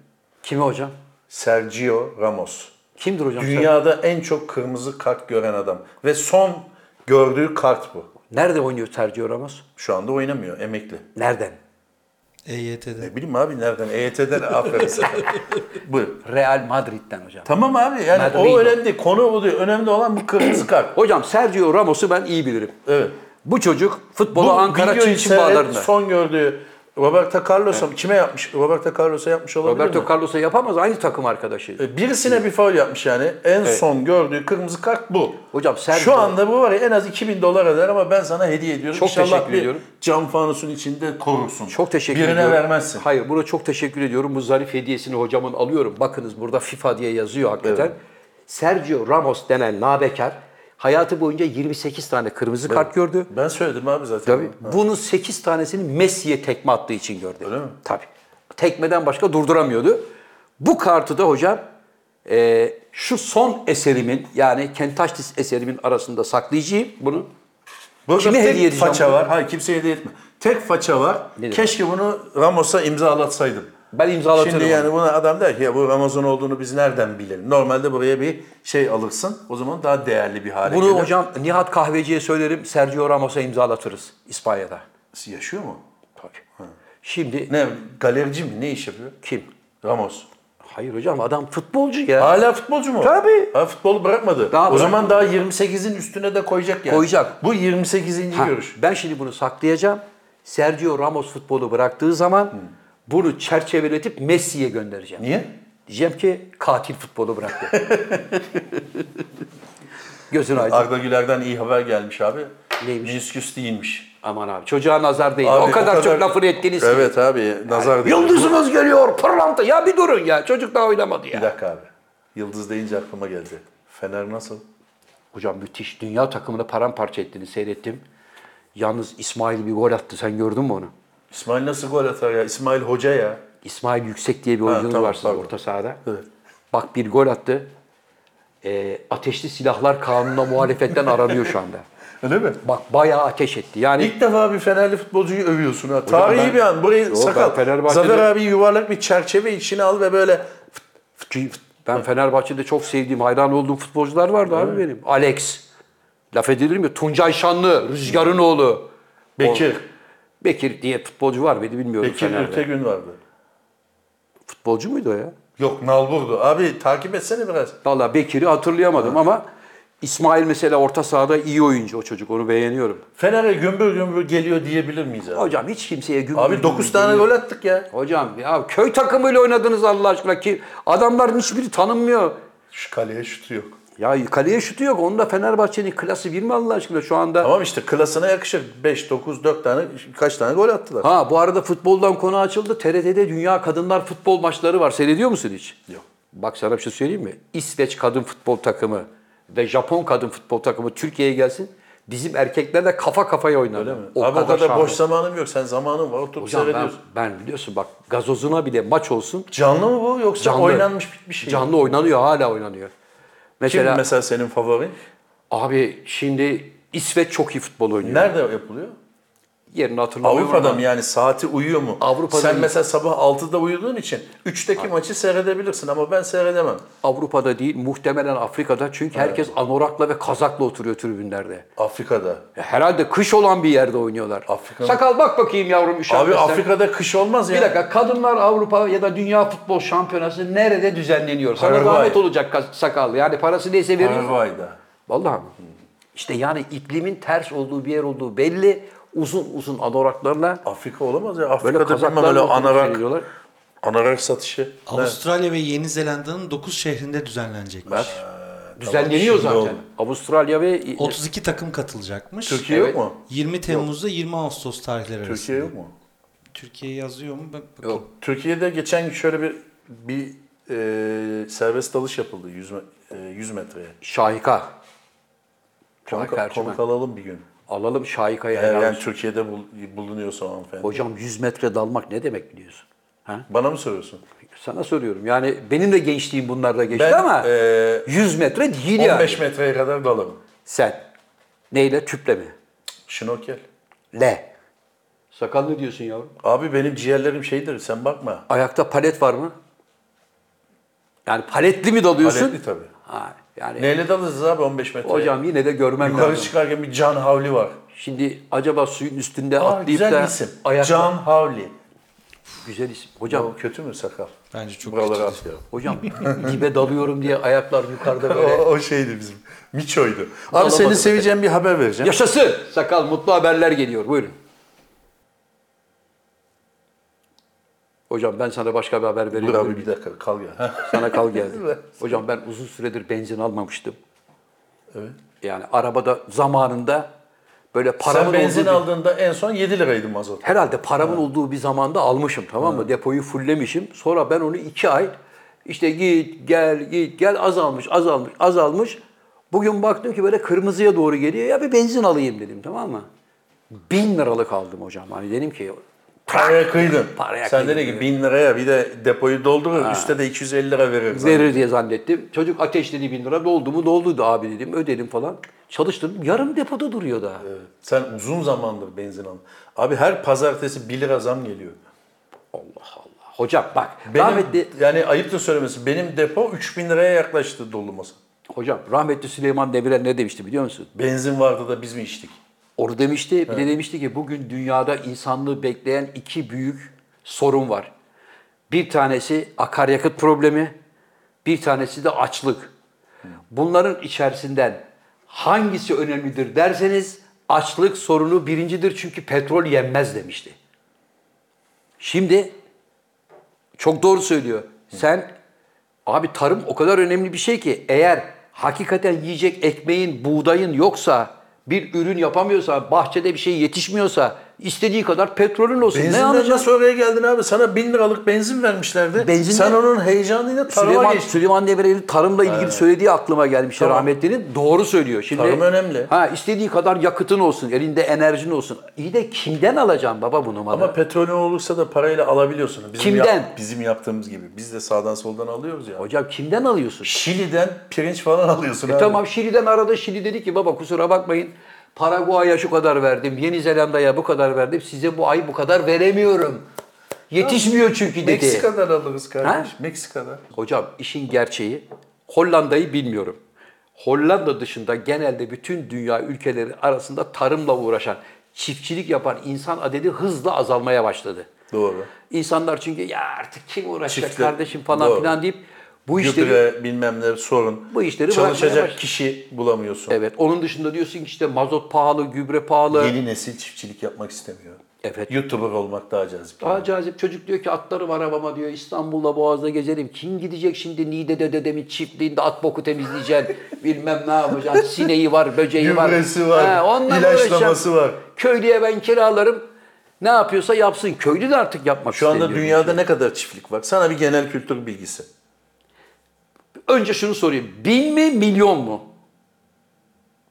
Speaker 3: Kimi hocam?
Speaker 2: Sergio Ramos.
Speaker 3: Kimdir hocam? sen?
Speaker 2: Dünyada en çok kırmızı kart gören adam. Ve son gördüğü kart bu.
Speaker 3: Nerede oynuyor Sergio Ramos?
Speaker 2: Şu anda oynamıyor emekli.
Speaker 3: Nereden?
Speaker 4: EYT'de.
Speaker 2: Ne bileyim abi nereden? E EYT'den aferin sana. Buyur.
Speaker 3: Real Madrid'den hocam.
Speaker 2: Tamam abi yani
Speaker 3: Madrido.
Speaker 2: o önemli değil. Konu o değil. Önemli olan bu kırmızı kart.
Speaker 3: Hocam Sergio Ramos'u ben iyi bilirim.
Speaker 2: Evet.
Speaker 3: Bu çocuk futbolu Ankara
Speaker 2: videoyu
Speaker 3: Çinçin
Speaker 2: seyret-
Speaker 3: bağlarında.
Speaker 2: Son gördüğü Roberto Carlos'a kime yapmış? Roberto Carlos'a yapmış olabilir mi?
Speaker 3: Roberto Carlos'a yapamaz aynı takım arkadaşı.
Speaker 2: E, Birisine bir faul yapmış yani. En son gördüğü kırmızı kart bu.
Speaker 3: Hocam sen-
Speaker 2: Şu anda bu var ya en az 2000 dolar eder ama ben sana hediye ediyorum.
Speaker 3: Çok
Speaker 2: İnşallah
Speaker 3: teşekkür
Speaker 2: bir
Speaker 3: ediyorum.
Speaker 2: cam fanusun içinde korursun.
Speaker 3: Çok teşekkür
Speaker 2: Birine
Speaker 3: ediyorum.
Speaker 2: vermezsin.
Speaker 3: Hayır, buna çok teşekkür ediyorum. Bu zarif hediyesini hocamın alıyorum. Bakınız burada FIFA diye yazıyor hakikaten. Sergio Ramos denen nabekar hayatı boyunca 28 tane kırmızı kart gördü.
Speaker 2: Ben söyledim abi zaten.
Speaker 3: Tabii. Bunun 8 tanesini Messi'ye tekme attığı için gördü. Öyle
Speaker 2: mi?
Speaker 3: Tabii. Tekmeden başka durduramıyordu. Bu kartı da hocam e, şu son eserimin yani Kentaşlis eserimin arasında saklayacağım bunu.
Speaker 2: Burada
Speaker 3: Kime
Speaker 2: tek
Speaker 3: hediye edeceğim
Speaker 2: faça
Speaker 3: bunu?
Speaker 2: var. Hayır kimseye hediye etme. Tek faça var.
Speaker 3: Nedir?
Speaker 2: Keşke bunu Ramos'a imzalatsaydım.
Speaker 3: Ben imzalatırım.
Speaker 2: Şimdi
Speaker 3: onu.
Speaker 2: yani buna adam der ki ya bu Ramazan olduğunu biz nereden bilelim? Normalde buraya bir şey alırsın. O zaman daha değerli bir hale
Speaker 3: Bunu
Speaker 2: gelir.
Speaker 3: hocam Nihat Kahveci'ye söylerim, Sergio Ramos'a imzalatırız İspanya'da.
Speaker 2: Yaşıyor mu?
Speaker 3: Tabii. Şimdi
Speaker 2: Ne galerici mi? Ne iş yapıyor?
Speaker 3: kim?
Speaker 2: Ramos.
Speaker 3: Hayır hocam adam futbolcu ya.
Speaker 2: Hala futbolcu mu?
Speaker 3: Tabii.
Speaker 2: Ha, futbolu bırakmadı.
Speaker 3: Daha
Speaker 2: o zaman daha 28'in üstüne de koyacak yani.
Speaker 3: Koyacak.
Speaker 2: Bu 28.
Speaker 3: Ha,
Speaker 2: görüş.
Speaker 3: Ben şimdi bunu saklayacağım. Sergio Ramos futbolu bıraktığı zaman bunu çerçeveletip Messi'ye göndereceğim.
Speaker 2: Hmm. Niye?
Speaker 3: Diyeceğim ki katil futbolu bıraktı. Gözün aydın.
Speaker 2: Arda Güler'den iyi haber gelmiş abi.
Speaker 3: Neymiş?
Speaker 2: Menisküs değilmiş.
Speaker 3: Aman abi çocuğa nazar değil.
Speaker 2: Abi,
Speaker 3: o, kadar çok lafını ettiniz. ki.
Speaker 2: Evet abi nazar değil.
Speaker 3: Yıldızımız geliyor pırlanta. Ya bir durun ya. Çocuk daha oynamadı ya.
Speaker 2: Bir dakika abi. Yıldız deyince aklıma geldi. Fener nasıl?
Speaker 3: Hocam müthiş. Dünya takımını paramparça ettiğini seyrettim. Yalnız İsmail bir gol attı. Sen gördün mü onu?
Speaker 2: İsmail nasıl gol atar ya? İsmail Hoca ya.
Speaker 3: İsmail Yüksek diye bir oyuncunuz
Speaker 2: tamam,
Speaker 3: var sizin
Speaker 2: pardon.
Speaker 3: orta sahada.
Speaker 2: Evet.
Speaker 3: Bak bir gol attı. Ee, ateşli silahlar kanununa muhalefetten aranıyor şu anda.
Speaker 2: Öyle mi?
Speaker 3: Bak bayağı ateş etti. Yani
Speaker 2: İlk defa bir Fenerli futbolcuyu övüyorsun ha. Tarihi
Speaker 3: ben-
Speaker 2: bir an. Burayı
Speaker 3: Yo, ben
Speaker 2: sakal.
Speaker 3: Fenerbahçe'de-
Speaker 2: Zafer abi yuvarlak bir çerçeve içine al ve böyle
Speaker 3: Çünkü ben Fenerbahçe'de çok sevdiğim, hayran olduğum futbolcular vardı abi benim. Alex. Laf edilir mi? Tuncay Şanlı, Rüzgar'ın oğlu.
Speaker 2: Bekir.
Speaker 3: O- Bekir diye futbolcu var mıydı bilmiyorum
Speaker 2: Bekir
Speaker 3: Fener'de.
Speaker 2: Ürtegün vardı.
Speaker 3: Futbolcu muydu o ya?
Speaker 2: Yok Nalbur'du. Abi takip etsene biraz.
Speaker 3: Valla Bekir'i hatırlayamadım ama İsmail mesela orta sahada iyi oyuncu o çocuk. Onu beğeniyorum.
Speaker 2: Fener'e gümbür gümbür geliyor diyebilir miyiz abi?
Speaker 3: Hocam hiç kimseye gümbür
Speaker 2: Abi
Speaker 3: gümbür
Speaker 2: 9 tane
Speaker 3: değil.
Speaker 2: gol attık ya.
Speaker 3: Hocam ya köy takımıyla oynadınız Allah aşkına ki adamların hiçbiri tanınmıyor.
Speaker 2: Şu kaleye şutu yok.
Speaker 3: Ya kaleye şutu yok. Onda Fenerbahçe'nin klası bir mi Allah aşkına şu anda?
Speaker 2: Tamam işte klasına yakışır. 5, 9, 4 tane kaç tane gol attılar.
Speaker 3: Ha bu arada futboldan konu açıldı. TRT'de Dünya Kadınlar Futbol maçları var. Seyrediyor musun hiç?
Speaker 2: Yok.
Speaker 3: Bak sana bir şey söyleyeyim mi? İsveç kadın futbol takımı ve Japon kadın futbol takımı Türkiye'ye gelsin. Bizim erkeklerle kafa kafaya oynar.
Speaker 2: abi o kadar
Speaker 3: şahane.
Speaker 2: boş zamanım yok. Sen zamanın var oturup
Speaker 3: Hocam ben,
Speaker 2: seyrediyorsun.
Speaker 3: ben biliyorsun bak gazozuna bile maç olsun
Speaker 2: Canlı mı bu yoksa
Speaker 3: Canlı.
Speaker 2: oynanmış bitmiş şey mi?
Speaker 3: canlı oynanıyor hala oynanıyor.
Speaker 2: Kim
Speaker 3: Mesela,
Speaker 2: mesela senin favorin?
Speaker 3: abi şimdi İsveç çok iyi futbol oynuyor.
Speaker 2: Nerede yapılıyor?
Speaker 3: Yerini hatırlamıyorum.
Speaker 2: Avrupa'da
Speaker 3: ama-
Speaker 2: mı yani saati uyuyor mu?
Speaker 3: Avrupa'da
Speaker 2: Sen
Speaker 3: değil.
Speaker 2: mesela sabah 6'da uyuduğun için 3'teki maçı seyredebilirsin ama ben seyredemem.
Speaker 3: Avrupa'da değil muhtemelen Afrika'da çünkü herkes anorakla ve kazakla oturuyor tribünlerde.
Speaker 2: Afrika'da.
Speaker 3: Ya Herhalde kış olan bir yerde oynuyorlar.
Speaker 2: Afrika mı?
Speaker 3: Sakal bak bakayım yavrum
Speaker 2: Abi
Speaker 3: üşenmezsen.
Speaker 2: Afrika'da kış olmaz ya.
Speaker 1: Bir dakika kadınlar Avrupa ya da Dünya Futbol Şampiyonası nerede düzenleniyor? Sana
Speaker 2: Paraguay.
Speaker 1: zahmet
Speaker 3: Zahmet olacak kas- sakal. Yani parası neyse veririz.
Speaker 2: Paraguay'da.
Speaker 3: Vallahi mi? İşte yani iklimin ters olduğu bir yer olduğu belli. Uzun uzun anoraklarla
Speaker 2: Afrika olamaz ya.
Speaker 3: böyle
Speaker 2: Afrika'da bilmem
Speaker 3: kazaklarla
Speaker 2: öyle
Speaker 3: oturup
Speaker 2: anarak,
Speaker 3: seyrediyorlar.
Speaker 2: anarak satışı.
Speaker 4: Avustralya ve Yeni Zelanda'nın 9 şehrinde düzenlenecekmiş.
Speaker 3: Düzenleniyor
Speaker 2: şimdi
Speaker 3: zaten.
Speaker 2: oldu.
Speaker 3: Avustralya ve
Speaker 4: 32 takım katılacakmış.
Speaker 2: Türkiye
Speaker 3: Evet.
Speaker 2: yok mu?
Speaker 4: 20 Temmuz'da 20 Ağustos tarihleri arasında.
Speaker 2: Türkiye yok mu?
Speaker 4: Türkiye yazıyor mu? Bak bakayım.
Speaker 3: Yok.
Speaker 2: Türkiye'de geçen gün şöyle bir bir e, serbest dalış yapıldı 100, me- e, 100 metreye.
Speaker 3: Şahika.
Speaker 2: Konuk,
Speaker 3: Şahika Erçmen.
Speaker 2: konuk alalım bir gün.
Speaker 3: Alalım Şahika'yı.
Speaker 2: Eğer
Speaker 3: helal
Speaker 2: yani
Speaker 3: olsun.
Speaker 2: Türkiye'de bul- bulunuyorsa hanımefendi.
Speaker 3: Hocam 100 metre dalmak ne demek biliyorsun? Ha?
Speaker 2: Bana mı soruyorsun?
Speaker 3: Sana soruyorum. Yani benim de gençliğim bunlarda geçti ama
Speaker 2: e,
Speaker 3: 100 metre değil
Speaker 2: 15
Speaker 3: yani.
Speaker 2: metreye kadar dalarım.
Speaker 3: Sen neyle? Tüple mi?
Speaker 2: Şnorkel.
Speaker 3: Le. Sakal ne diyorsun yavrum?
Speaker 2: Abi benim ciğerlerim şeydir sen bakma.
Speaker 3: Ayakta palet var mı? Yani paletli mi dalıyorsun?
Speaker 2: Aletli tabii.
Speaker 3: Ha, yani
Speaker 2: Neyle dalırız abi 15 metreye?
Speaker 3: hocam yine de görmem
Speaker 2: Yukarı
Speaker 3: lazım.
Speaker 2: çıkarken bir Can Havli var.
Speaker 3: Şimdi acaba suyun üstünde
Speaker 2: Aa,
Speaker 3: atlayıp
Speaker 2: güzel
Speaker 3: da
Speaker 2: isim.
Speaker 3: ayakta...
Speaker 2: Can Havli.
Speaker 3: Güzel isim.
Speaker 2: O
Speaker 3: Hocam,
Speaker 2: kötü mü sakal?
Speaker 4: Bence çok
Speaker 2: Buraları
Speaker 4: kötü.
Speaker 2: atlayalım.
Speaker 3: hocam dibe dalıyorum diye ayaklar yukarıda
Speaker 2: O,
Speaker 3: böyle.
Speaker 2: o şeydi bizim. Miço'ydu. Abi
Speaker 3: Alamadım.
Speaker 2: seni seveceğim bir haber vereceğim.
Speaker 3: Yaşasın! Sakal mutlu haberler geliyor. Buyurun. Hocam ben sana başka bir haber
Speaker 2: Dur
Speaker 3: veriyorum.
Speaker 2: abi bir dakika kal ya.
Speaker 3: Sana kal geldi. Hocam ben uzun süredir benzin almamıştım.
Speaker 2: Evet.
Speaker 3: Yani arabada zamanında böyle paramın
Speaker 2: Sen benzin
Speaker 3: olduğu bir-
Speaker 2: aldığında en son 7 liraydı mazot.
Speaker 3: herhalde paramın olduğu bir zamanda almışım tamam mı? Depoyu fulllemişim. Sonra ben onu iki ay işte git gel git gel azalmış azalmış azalmış. Bugün baktım ki böyle kırmızıya doğru geliyor. Ya bir benzin alayım dedim tamam mı? Bin liralık aldım hocam. Hani dedim ki
Speaker 2: Paraya kıydın.
Speaker 3: Paraya
Speaker 2: Sen
Speaker 3: kıydın
Speaker 2: dedin ki
Speaker 3: diyor.
Speaker 2: 1000 liraya bir de depoyu doldurur üstte de 250 lira verir. zaten.
Speaker 3: verir diye zannettim. Çocuk ateşledi bin lira. Doldu mu dolduydu abi dedim. Ödedim falan. Çalıştırdım. Yarım depoda duruyor daha.
Speaker 2: Sen uzun zamandır benzin al. Abi her pazartesi 1 lira zam geliyor.
Speaker 3: Allah Allah. Hocam bak.
Speaker 2: Benim,
Speaker 3: Rahmetli
Speaker 2: Yani ayıp da söylemesi benim depo 3000 liraya yaklaştı doluması.
Speaker 3: Hocam rahmetli Süleyman Demirel ne demişti biliyor musun?
Speaker 2: Benzin vardı da biz mi içtik?
Speaker 3: Orada demişti, bir de demişti ki bugün dünyada insanlığı bekleyen iki büyük sorun var. Bir tanesi akaryakıt problemi, bir tanesi de açlık. Bunların içerisinden hangisi önemlidir derseniz açlık sorunu birincidir çünkü petrol yenmez demişti. Şimdi çok doğru söylüyor. Sen abi tarım o kadar önemli bir şey ki eğer hakikaten yiyecek ekmeğin, buğdayın yoksa bir ürün yapamıyorsa, bahçede bir şey yetişmiyorsa istediği kadar petrolün olsun. ne
Speaker 2: Benzinden
Speaker 3: alacaksın?
Speaker 2: nasıl oraya geldin abi? Sana 1000 liralık benzin vermişlerdi.
Speaker 3: Benzin
Speaker 2: Sen
Speaker 3: de-
Speaker 2: onun heyecanıyla tarıma
Speaker 3: Süleyman,
Speaker 2: geçtin.
Speaker 3: Süleyman Demirel'in tarımla ilgili söylediği aklıma gelmişti
Speaker 2: Tamam.
Speaker 3: rahmetlinin. Doğru söylüyor. Şimdi,
Speaker 2: Tarım önemli.
Speaker 3: Ha, istediği kadar yakıtın olsun, elinde enerjin olsun. İyi de kimden alacaksın baba bunu? madem?
Speaker 2: Ama petrolün olursa da parayla alabiliyorsun. Bizim
Speaker 3: Kimden?
Speaker 2: yap- bizim yaptığımız gibi. Biz de sağdan soldan alıyoruz ya.
Speaker 3: Hocam kimden alıyorsun?
Speaker 2: Şili'den pirinç falan alıyorsun
Speaker 3: E
Speaker 2: abi.
Speaker 3: tamam Şili'den arada Şili dedi ki baba kusura bakmayın Paraguay'a şu kadar verdim, Yeni Zelanda'ya bu kadar verdim, size bu ay bu kadar veremiyorum. Yetişmiyor çünkü dedi.
Speaker 2: Meksika'dan alırız kardeş.
Speaker 3: Ha?
Speaker 2: Meksika'dan.
Speaker 3: Hocam işin gerçeği Hollanda'yı bilmiyorum. Hollanda dışında genelde bütün dünya ülkeleri arasında tarımla uğraşan, çiftçilik yapan insan adedi hızla azalmaya başladı.
Speaker 2: Doğru.
Speaker 3: İnsanlar çünkü ya artık kim uğraşacak
Speaker 2: Çiftler-
Speaker 3: kardeşim falan
Speaker 2: Doğru.
Speaker 3: filan deyip bu işleri
Speaker 2: Gübre bilmem ne sorun.
Speaker 3: Bu işleri bırakmaya
Speaker 2: Çalışacak
Speaker 3: başladı.
Speaker 2: kişi bulamıyorsun.
Speaker 3: Evet. Onun dışında diyorsun ki işte mazot pahalı, gübre pahalı.
Speaker 2: Yeni nesil çiftçilik yapmak istemiyor.
Speaker 3: Evet.
Speaker 2: YouTuber olmak daha cazip.
Speaker 3: Daha cazip. Çocuk diyor ki atlarım arabama diyor. İstanbul'da Boğaz'da gezelim. Kim gidecek şimdi Niğde'de dedemin çiftliğinde at boku temizleyeceksin. Bilmem ne yapacaksın. Sineği var, böceği var.
Speaker 2: Gübresi var,
Speaker 3: He, onunla
Speaker 2: ilaçlaması
Speaker 3: uğraşacaksın.
Speaker 2: var.
Speaker 3: Köylüye ben kiralarım. Ne yapıyorsa yapsın. Köylü de artık yapmak
Speaker 2: Şu anda
Speaker 3: istemiyor.
Speaker 2: dünyada ne kadar çiftlik var? Sana bir genel kültür bilgisi.
Speaker 3: Önce şunu sorayım. Bin mi, milyon mu?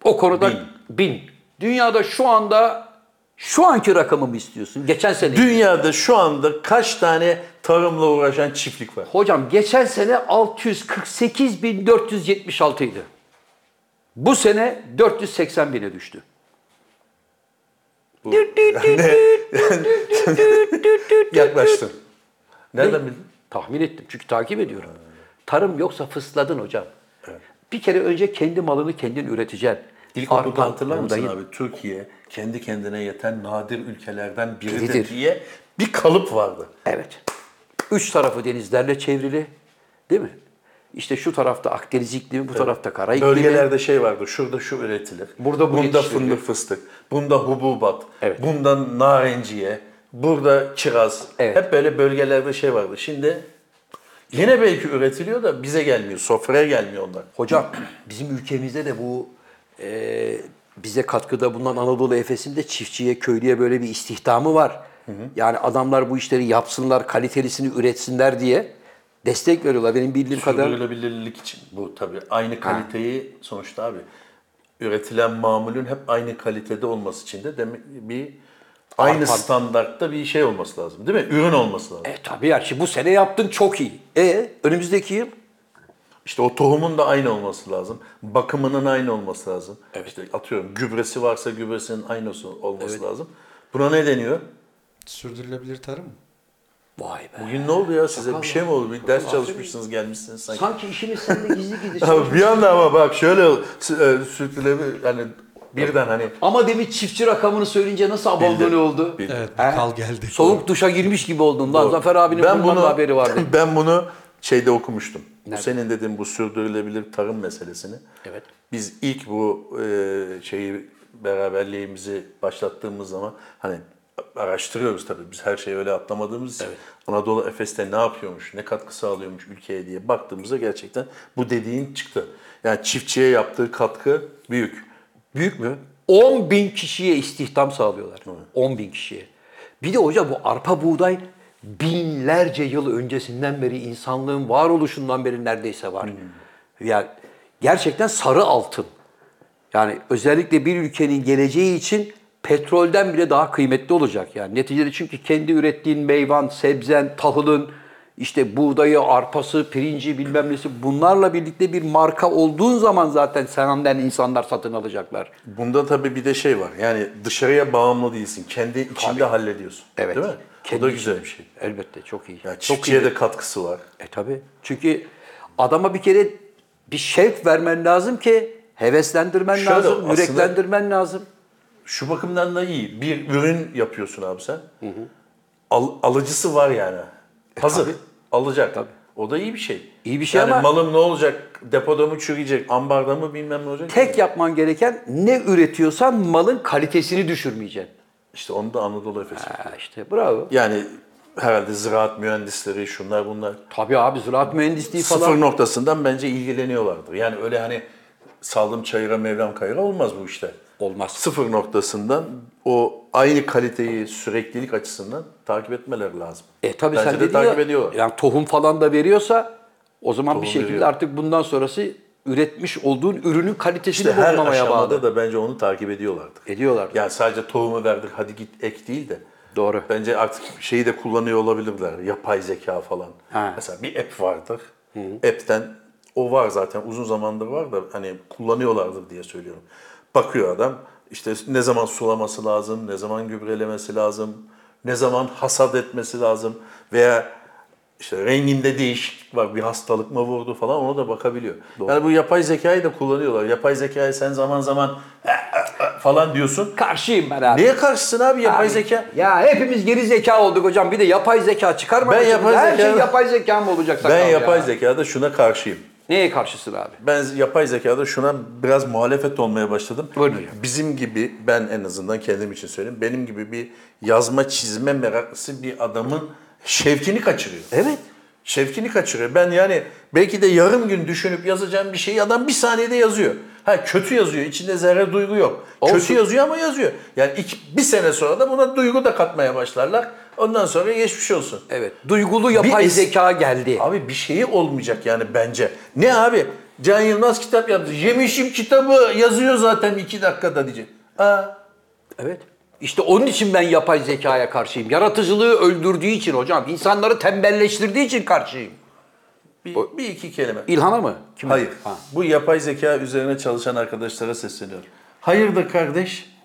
Speaker 3: O konuda bin. Dünyada şu anda şu anki rakamı mı istiyorsun? Geçen sene.
Speaker 2: Dünyada şu anda kaç tane tarımla uğraşan çiftlik var?
Speaker 3: Hocam geçen sene 648.476 idi. Bu sene 480 bine düştü.
Speaker 2: Yaklaştın. Nereden bildin?
Speaker 3: Tahmin ettim çünkü takip ediyorum. Tarım yoksa fısladın hocam. Bir kere önce kendi malını kendin üreteceksin.
Speaker 2: İlkokulda
Speaker 3: Arpa,
Speaker 2: hatırlar mısın
Speaker 3: buğdayı-
Speaker 2: abi? Türkiye kendi kendine yeten nadir ülkelerden biridir
Speaker 3: Biridir.
Speaker 2: diye bir kalıp vardı.
Speaker 3: Evet. Üç tarafı denizlerle çevrili. Değil mi? İşte şu tarafta Akdeniz iklimi, bu tarafta kara iklimi.
Speaker 2: Bölgelerde şey vardı, şurada şu üretilir,
Speaker 3: Burada bu
Speaker 2: bunda
Speaker 3: yetiştirilir.
Speaker 2: fındık fıstık, bunda hububat,
Speaker 3: Evet.
Speaker 2: bunda narenciye, burada kiraz.
Speaker 3: Evet.
Speaker 2: Hep böyle bölgelerde şey vardı. Şimdi yine belki üretiliyor da bize gelmiyor, sofraya gelmiyor onlar.
Speaker 3: Hocam bizim ülkemizde de bu e, bize katkıda bulunan Anadolu Efes'in de çiftçiye, köylüye böyle bir istihdamı var. Yani adamlar bu işleri yapsınlar, kalitelisini üretsinler diye destek veriyorlar. Benim bildiğim kadar
Speaker 2: Sürdürülebilirlik için bu tabii. Aynı kaliteyi sonuçta abi üretilen mamulün hep aynı kalitede olması için de demek bir aynı
Speaker 3: Arpa.
Speaker 2: standartta bir şey olması lazım değil mi? Ürün olması lazım.
Speaker 3: e tabii yani şimdi bu sene yaptın çok iyi. E önümüzdeki yıl
Speaker 2: İşte o tohumun da aynı olması lazım. Bakımının aynı olması lazım. İşte atıyorum gübresi varsa gübresinin aynısı olması lazım. Buna ne deniyor?
Speaker 4: Sürdürülebilir tarım.
Speaker 3: vay be.
Speaker 2: Bugün ne oldu ya size? Bir şey mi oldu? Bir ders çalışmışsınız gelmişsiniz sanki. şey
Speaker 3: Sanki işimiz seninle gizli gizli.
Speaker 2: Abi bir anda ama bak şöyle ol- sü- e, sürdürülebilir yani Birden hani
Speaker 3: Ama demin çiftçi rakamını söyleyince nasıl abandone
Speaker 2: Bildim.
Speaker 3: oldu?
Speaker 2: Bildim.
Speaker 4: Evet,
Speaker 3: He?
Speaker 4: kal geldi.
Speaker 3: Soğuk duşa girmiş gibi oldun lan.
Speaker 2: Doğru.
Speaker 3: Zafer abinin bundan da haberi vardı.
Speaker 2: Ben bunu şeyde okumuştum.
Speaker 3: Nerede?
Speaker 2: Senin dediğin bu sürdürülebilir tarım meselesini.
Speaker 3: Evet.
Speaker 2: Biz ilk bu e, şeyi beraberliğimizi başlattığımız zaman hani araştırıyoruz tabii biz her şeyi öyle atlamadığımız için. Anadolu Efes'te ne yapıyormuş, ne katkı sağlıyormuş ülkeye diye baktığımızda gerçekten bu dediğin çıktı. Yani çiftçiye yaptığı katkı büyük. Büyük mü?
Speaker 3: 10 bin kişiye istihdam sağlıyorlar. 10 bin kişiye. Bir de hoca bu arpa buğday binlerce yıl öncesinden beri insanlığın varoluşundan beri neredeyse var. Yani gerçekten sarı altın. Yani özellikle bir ülkenin geleceği için petrolden bile daha kıymetli olacak. Yani neticede çünkü kendi ürettiğin meyvan, sebzen, tahılın, işte buğdayı, arpası, pirinci bilmem nesi bunlarla birlikte bir marka olduğun zaman zaten senden insanlar satın alacaklar.
Speaker 2: Bunda tabii bir de şey var. Yani dışarıya bağımlı değilsin. Kendi içinde hallediyorsun.
Speaker 3: Evet.
Speaker 2: Değil mi?
Speaker 3: Kendi
Speaker 2: o da
Speaker 3: içinde.
Speaker 2: güzel bir şey.
Speaker 3: Elbette çok iyi.
Speaker 2: Yani
Speaker 3: çok
Speaker 2: çiftçiye de katkısı var.
Speaker 3: E tabii. Çünkü adama bir kere bir şevk vermen lazım ki heveslendirmen
Speaker 2: Şöyle
Speaker 3: lazım,
Speaker 2: aslında-
Speaker 3: yüreklendirmen lazım.
Speaker 2: Şu bakımdan da iyi. Bir ürün yapıyorsun abi sen. Al- alıcısı var yani. Hazır.
Speaker 3: E, tabii.
Speaker 2: Alacak. O da iyi bir şey.
Speaker 3: İyi bir şey
Speaker 2: yani
Speaker 3: ama-
Speaker 2: malım ne olacak? Depoda mı çürüyecek? Ambarda mı bilmem ne olacak?
Speaker 3: Tek yapman gereken ne üretiyorsan malın kalitesini düşürmeyeceksin.
Speaker 2: İşte onu da Anadolu Efes.
Speaker 3: Ha işte bravo.
Speaker 2: Yani herhalde ziraat mühendisleri şunlar bunlar.
Speaker 3: Tabii abi ziraat mühendisliği Şey falan.
Speaker 2: Sıfır noktasından bence ilgileniyorlardır. Yani öyle hani saldım çayıra mevlam kayıra olmaz bu işte.
Speaker 3: Olmaz.
Speaker 2: Sıfır noktasından o aynı kaliteyi süreklilik açısından takip etmeleri lazım.
Speaker 3: E tabii
Speaker 2: Bence
Speaker 3: sen
Speaker 2: de
Speaker 3: dedin
Speaker 2: takip
Speaker 3: ya,
Speaker 2: ediyorlar.
Speaker 3: yani tohum falan da veriyorsa o zaman bir şekilde
Speaker 2: veriyor.
Speaker 3: artık bundan sonrası üretmiş olduğun ürünün kalitesini
Speaker 2: İşte her
Speaker 3: bozmamaya
Speaker 2: aşamada
Speaker 3: bağlı.
Speaker 2: da bence onu takip ediyorlardı.
Speaker 3: Ediyorlar.
Speaker 2: Yani sadece tohumu verdik hadi git ek değil de.
Speaker 3: Doğru.
Speaker 2: Bence artık şeyi de kullanıyor olabilirler. Yapay zeka falan.
Speaker 3: Ha.
Speaker 2: Mesela bir app vardır. App'ten o var zaten uzun zamandır var da hani kullanıyorlardır diye söylüyorum. Bakıyor adam işte ne zaman sulaması lazım, ne zaman gübrelemesi lazım, ne zaman hasat etmesi lazım veya işte renginde değişiklik var, bir hastalık mı vurdu falan ona da bakabiliyor. Yani bu yapay zekayı da kullanıyorlar. Yapay zekayı sen zaman zaman "Eh, eh, eh" falan diyorsun.
Speaker 3: Karşıyım ben abi.
Speaker 2: Niye karşısın abi yapay
Speaker 3: Abi,
Speaker 2: zeka?
Speaker 3: Ya hepimiz geri zeka olduk hocam. Bir de yapay zeka çıkarma.
Speaker 2: Ben
Speaker 3: şimdi.
Speaker 2: yapay
Speaker 3: Her
Speaker 2: zeka-
Speaker 3: şey yapay zeka mı olacak sakal
Speaker 2: Ben yapay
Speaker 3: ya?
Speaker 2: zekada şuna karşıyım.
Speaker 3: Neye karşısın abi?
Speaker 2: Ben yapay zekada şuna biraz muhalefet olmaya başladım.
Speaker 3: Buyurun hocam.
Speaker 2: Bizim gibi ben en azından kendim için söyleyeyim. Benim gibi bir yazma çizme meraklısı bir adamın şevkini kaçırıyor.
Speaker 3: Evet.
Speaker 2: Şevkini kaçırıyor. Ben yani belki de yarım gün düşünüp yazacağım bir şeyi adam bir saniyede yazıyor. Ha kötü yazıyor. içinde zerre duygu yok.
Speaker 3: Olsun.
Speaker 2: Kötü yazıyor ama yazıyor. Yani iki, bir sene sonra da buna duygu da katmaya başlarlar. Ondan sonra geçmiş olsun.
Speaker 3: Evet. Duygulu yapay
Speaker 2: es-
Speaker 3: zeka geldi.
Speaker 2: Abi bir şeyi olmayacak yani bence. Ne abi? Can Yılmaz kitap yaptı. Yemişim kitabı yazıyor zaten iki dakikada diyecek. Aa,
Speaker 3: Evet. İşte onun için ben yapay zekaya karşıyım. Yaratıcılığı öldürdüğü için hocam. insanları tembelleştirdiği için karşıyım.
Speaker 2: bir, bir iki kelime.
Speaker 3: İlhan'a mı? Kime?
Speaker 2: Hayır.
Speaker 3: Ha.
Speaker 2: Bu yapay zeka üzerine çalışan arkadaşlara sesleniyorum. Hayırdır kardeş?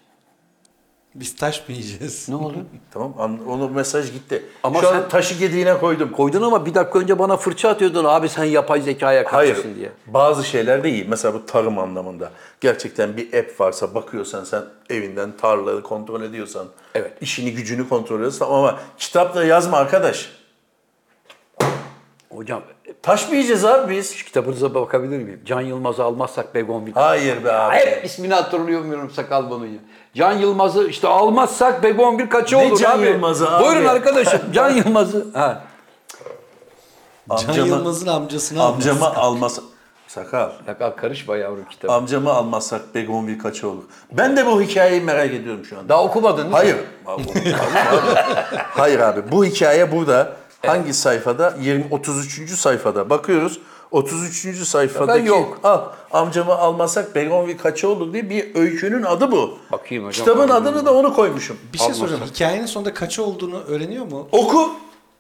Speaker 4: Biz taş mı yiyeceğiz?
Speaker 3: Ne oldu?
Speaker 2: Tamam an- onu mesaj gitti.
Speaker 3: Ama
Speaker 2: Şu
Speaker 3: sen-
Speaker 2: an taşı gediğine koydum.
Speaker 3: Koydun ama bir dakika önce bana fırça atıyordun abi sen yapay zekaya
Speaker 2: Hayır.
Speaker 3: karşısın diye.
Speaker 2: Bazı şeyler de iyi. Mesela bu tarım anlamında. Gerçekten bir app varsa bakıyorsan sen evinden tarlayı kontrol ediyorsan.
Speaker 3: Evet.
Speaker 2: işini gücünü kontrol ediyorsan ama kitapla yazma arkadaş.
Speaker 3: Hocam
Speaker 2: Taş mı yiyeceğiz abi biz?
Speaker 3: kitabınıza bakabilir miyim? Can Yılmaz'ı almazsak Begonvil.
Speaker 2: Hayır be abi.
Speaker 3: Hep ismini hatırlayamıyorum sakal bunun ya. Can Yılmaz'ı işte almazsak Begonvil kaçı
Speaker 2: Ne
Speaker 3: olur
Speaker 2: Can
Speaker 3: abi?
Speaker 2: Yılmaz'ı abi?
Speaker 3: Buyurun arkadaşım Can Yılmaz'ı. Ha.
Speaker 4: Can
Speaker 2: Amcama-
Speaker 4: Yılmaz'ın amcasını almaz.
Speaker 2: Amcama almasa... Sakal.
Speaker 3: Sakal karışma yavrum kitabı.
Speaker 2: Amcama almazsak Begonvil kaça olur? Ben de bu hikayeyi merak ediyorum şu anda.
Speaker 3: Daha okumadın değil
Speaker 2: Hayır.
Speaker 3: mi?
Speaker 2: Hayır abi. Bu hikaye burada hangi sayfada? 20 33. sayfada. Bakıyoruz. 33. sayfadaki
Speaker 3: yok.
Speaker 2: Al amcamı almasak Begonvil kaça olur diye bir öykünün adı bu.
Speaker 3: Bakayım hocam,
Speaker 2: Kitabın
Speaker 3: bakayım.
Speaker 2: adını da onu koymuşum.
Speaker 4: Bir şey soracağım. Hikayenin sonunda kaça olduğunu öğreniyor mu?
Speaker 2: Oku.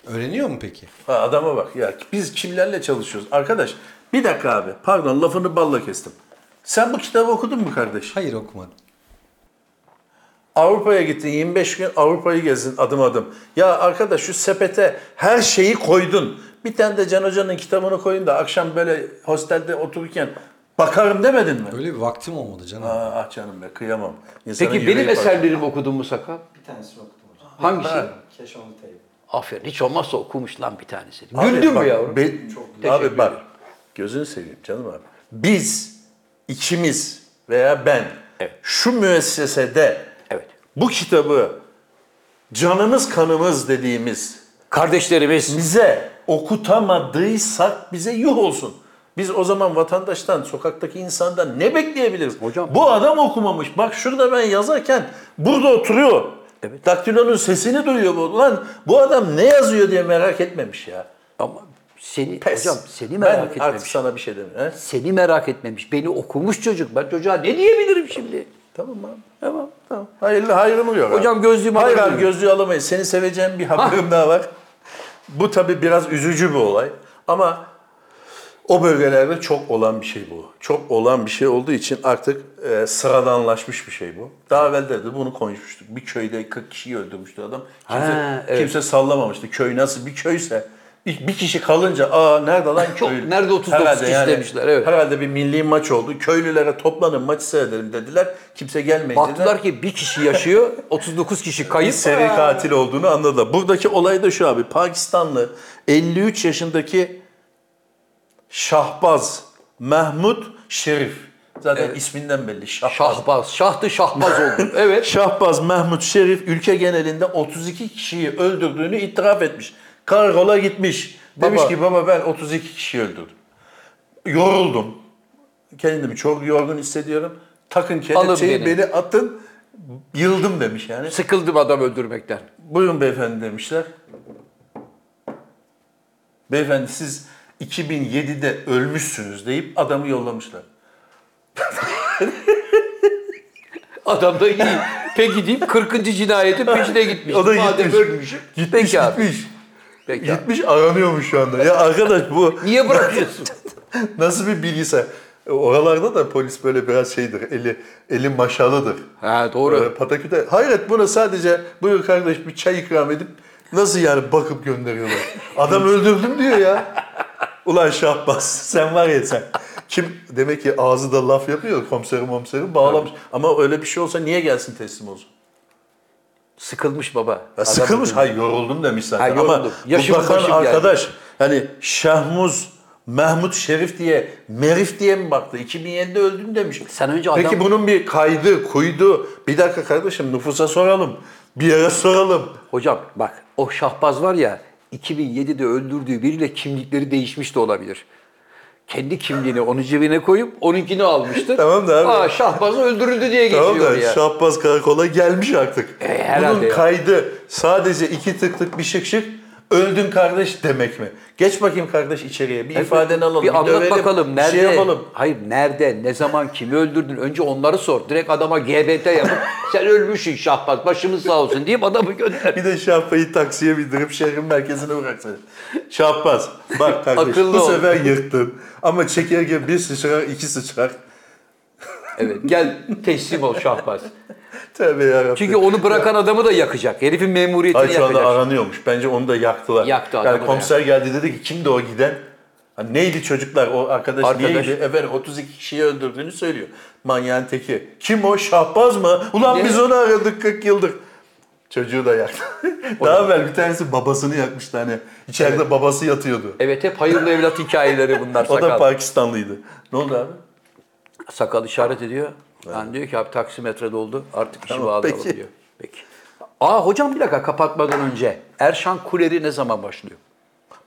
Speaker 4: Öğreniyor mu peki?
Speaker 2: Ha, adama bak ya biz kimlerle çalışıyoruz? Arkadaş bir dakika abi pardon lafını balla kestim. Sen bu kitabı okudun mu kardeş?
Speaker 4: Hayır okumadım.
Speaker 2: Avrupa'ya gittin 25 gün Avrupa'yı gezdin adım adım. Ya arkadaş şu sepete her şeyi koydun. Bir tane de Can Hoca'nın kitabını koyun da akşam böyle hostelde otururken Bakarım demedin mi?
Speaker 4: Öyle bir vaktim olmadı canım.
Speaker 2: Aa, ah canım be kıyamam. İnsanın
Speaker 1: Peki
Speaker 2: yüreği
Speaker 1: benim
Speaker 2: parça-
Speaker 1: eserlerimi okudun mu Sakal?
Speaker 5: Bir tanesi okudum hocam.
Speaker 1: Hangisi?
Speaker 5: Keşanlı Tayyip.
Speaker 3: Aferin. Hiç olmazsa okumuş lan bir tanesini.
Speaker 2: Abi
Speaker 1: Güldün mü
Speaker 2: bak,
Speaker 1: yavrum?
Speaker 2: ben-
Speaker 1: Teşekkür
Speaker 2: abi bak gözünü seveyim canım abi. Biz ikimiz veya ben
Speaker 3: Evet.
Speaker 2: şu müessesede
Speaker 3: Evet.
Speaker 2: bu kitabı canımız kanımız dediğimiz
Speaker 3: Kardeşlerimiz
Speaker 2: bize okutamadıysak bize yuh olsun. Biz o zaman vatandaştan, sokaktaki insandan ne bekleyebiliriz?
Speaker 3: Hocam-
Speaker 2: bu adam okumamış. Bak şurada ben yazarken burada oturuyor.
Speaker 3: Evet.
Speaker 2: Daktilonun sesini duyuyor bu. Lan bu adam ne yazıyor diye merak etmemiş ya.
Speaker 3: ama seni
Speaker 2: Pes.
Speaker 3: hocam seni merak
Speaker 2: Ben artık
Speaker 3: etmemiş.
Speaker 2: sana bir şey demiyorum. He?
Speaker 3: Seni merak etmemiş. Beni okumuş çocuk. Ben çocuğa ne diyebilirim şimdi?
Speaker 2: Tamam abi.
Speaker 3: Tamam.
Speaker 2: Tamam. Hayırlı hayrımı gör. abi.
Speaker 3: Hocam gözlüğümü
Speaker 2: Hayır
Speaker 3: alabilir
Speaker 2: abi
Speaker 3: miyim?
Speaker 2: gözlüğü alamayız. Seni seveceğim bir haberim daha var. Bu tabii biraz üzücü bir olay. Ama o bölgelerde çok olan bir şey bu. Çok olan bir şey olduğu için artık e, sıradanlaşmış bir şey bu. Daha evvel de bunu konuşmuştuk. Bir köyde 40 kişiyi öldürmüştü adam. Kimse,
Speaker 3: Ha, evet.
Speaker 2: kimse sallamamıştı. Köy nasıl bir köyse bir bir kişi kalınca aa nerede lan köylü?
Speaker 3: Nerede 39
Speaker 2: Herhalde
Speaker 3: kişi demişler, evet.
Speaker 2: Herhalde bir milli maç oldu. Köylülere toplanın maçı seyredelim dediler. Kimse gelmeyince de-
Speaker 3: Baktılar ki bir kişi yaşıyor, 39 kişi
Speaker 2: bir
Speaker 3: kayıp.
Speaker 2: seri katil olduğunu anladı. Buradaki olay da şu abi. Pakistanlı 53 yaşındaki Şahbaz Mehmut Şerif. Zaten isminden belli. Şahbaz.
Speaker 3: Şahbaz, şahtı şahbaz oldu. Evet.
Speaker 2: Şahbaz Mehmut Şerif ülke genelinde 32 kişiyi öldürdüğünü itiraf etmiş. Karakola gitmiş. Demiş
Speaker 3: Baba.
Speaker 2: ki baba ben 32 kişi öldürdüm. Yoruldum. Kendimi çok yorgun hissediyorum. Takın kelepçeyi
Speaker 3: beni."
Speaker 2: beni atın. Yıldım demiş yani.
Speaker 3: Sıkıldım adam öldürmekten.
Speaker 2: Buyurun beyefendi demişler. Beyefendi siz 2007'de ölmüşsünüz deyip adamı yollamışlar.
Speaker 3: Adam da iyi. Peki deyip 40. cinayetin peşine gitmiş.
Speaker 2: O da
Speaker 3: Madem
Speaker 2: gitmiş.
Speaker 3: ölmüşüm. Peki abi.
Speaker 2: gitmiş.
Speaker 3: Peki abi.
Speaker 2: Gitmiş aranıyormuş şu anda. Ya arkadaş bu
Speaker 3: Niye bırakıyorsun?
Speaker 2: nasıl bir bilgisayar? E, Oralarda da polis böyle biraz şeydir. Eli eli maşalıdır.
Speaker 3: ha
Speaker 2: Böyle
Speaker 3: doğru.
Speaker 2: pataküte. Hayret buna sadece buyur kardeş bir çay ikram edip nasıl yani bakıp gönderiyorlar. Adam öldürdüm diyor ya. Ulan Şahbaz sen var ya sen. Kim demek ki ağzı da laf yapıyor komiserim komiserim bağlamış. Ama öyle bir şey olsa niye gelsin teslim olsun?
Speaker 3: Sıkılmış baba.
Speaker 2: Ya
Speaker 3: Adam
Speaker 2: sıkılmış.
Speaker 3: öldürmüş.
Speaker 2: Hayır yoruldum demiş zaten.
Speaker 3: Ha, yoruldum.
Speaker 2: Ama
Speaker 3: Yaşım
Speaker 2: bu bakan
Speaker 3: başım geldi.
Speaker 2: arkadaş hani Şahmuz Mahmut Şerif diye, Merif diye mi baktı? 2007'de öldüm demiş.
Speaker 3: Sen önce adam-
Speaker 2: Peki bunun bir kaydı, kuydu. Bir dakika kardeşim nüfusa soralım. Bir yere soralım.
Speaker 3: Hocam bak o şahbaz var ya 2007'de öldürdüğü biriyle kimlikleri değişmiş de olabilir. Kendi kimliğini onun cebine koyup onunkini almıştır.
Speaker 2: Tamam da abi.
Speaker 3: Aa şahbaz öldürüldü diye geçiyor
Speaker 2: Tamam da
Speaker 3: ya. E,
Speaker 2: Şahbaz karakola gelmiş artık.
Speaker 3: herhalde
Speaker 2: bunun
Speaker 3: ya.
Speaker 2: kaydı sadece iki tık tık bir şık şık öldün kardeş demek mi? Geç bakayım kardeş içeriye. Bir ifadeni alalım.
Speaker 3: Bir, anlat
Speaker 2: dövelim,
Speaker 3: bakalım
Speaker 2: bir
Speaker 3: nerede?
Speaker 2: şey yapalım.
Speaker 3: Hayır nerede? Ne zaman kimi öldürdün? Önce onları sor. Direkt adama GBT yapıp sen ölmüşsün şahbaz başımız sağ olsun deyip adamı gönder.
Speaker 2: Bir de Şahpa'yı taksiye bindirip şehrin merkezine bıraksın. Şahbaz bak kardeş
Speaker 3: Akıllı
Speaker 2: bu
Speaker 3: ol.
Speaker 2: sefer yırttın. Ama çekirge bir sıçrar iki sıçrar.
Speaker 3: Evet gel teslim ol şahbaz.
Speaker 2: Tövbe yarabbim.
Speaker 3: Çünkü onu bırakan adamı da yakacak. Herifin memuriyetini
Speaker 2: Ay şu anda
Speaker 3: yakacak.
Speaker 2: aranıyormuş. Bence onu da yaktılar.
Speaker 3: Yaktı adamı
Speaker 2: yani
Speaker 3: da
Speaker 2: komiser geldi dedi ki kimdi o giden? Hani neydi çocuklar o arkadaş,
Speaker 3: Arkadaş.
Speaker 2: neydi? Efendim 32 kişiyi öldürdüğünü söylüyor. Manyağın teki. Kim o? Şahbaz mı? Ulan
Speaker 3: Ne?
Speaker 2: biz onu aradık 40 yıldır. Çocuğu da yaktı. Daha evvel bir tanesi babasını yakmıştı hani. İçeride babası yatıyordu.
Speaker 3: Evet hep hayırlı evlat hikayeleri bunlar
Speaker 2: O da
Speaker 3: sakal.
Speaker 2: Pakistanlıydı. Ne oldu abi?
Speaker 3: Sakal işaret ediyor. Yani diyor ki abi taksimetre doldu. Artık işi
Speaker 2: Tamam,
Speaker 3: bağlayalım
Speaker 2: peki.
Speaker 3: diyor. Peki. Aa hocam bir dakika kapatmadan önce. Erşan Kuleri ne zaman başlıyor?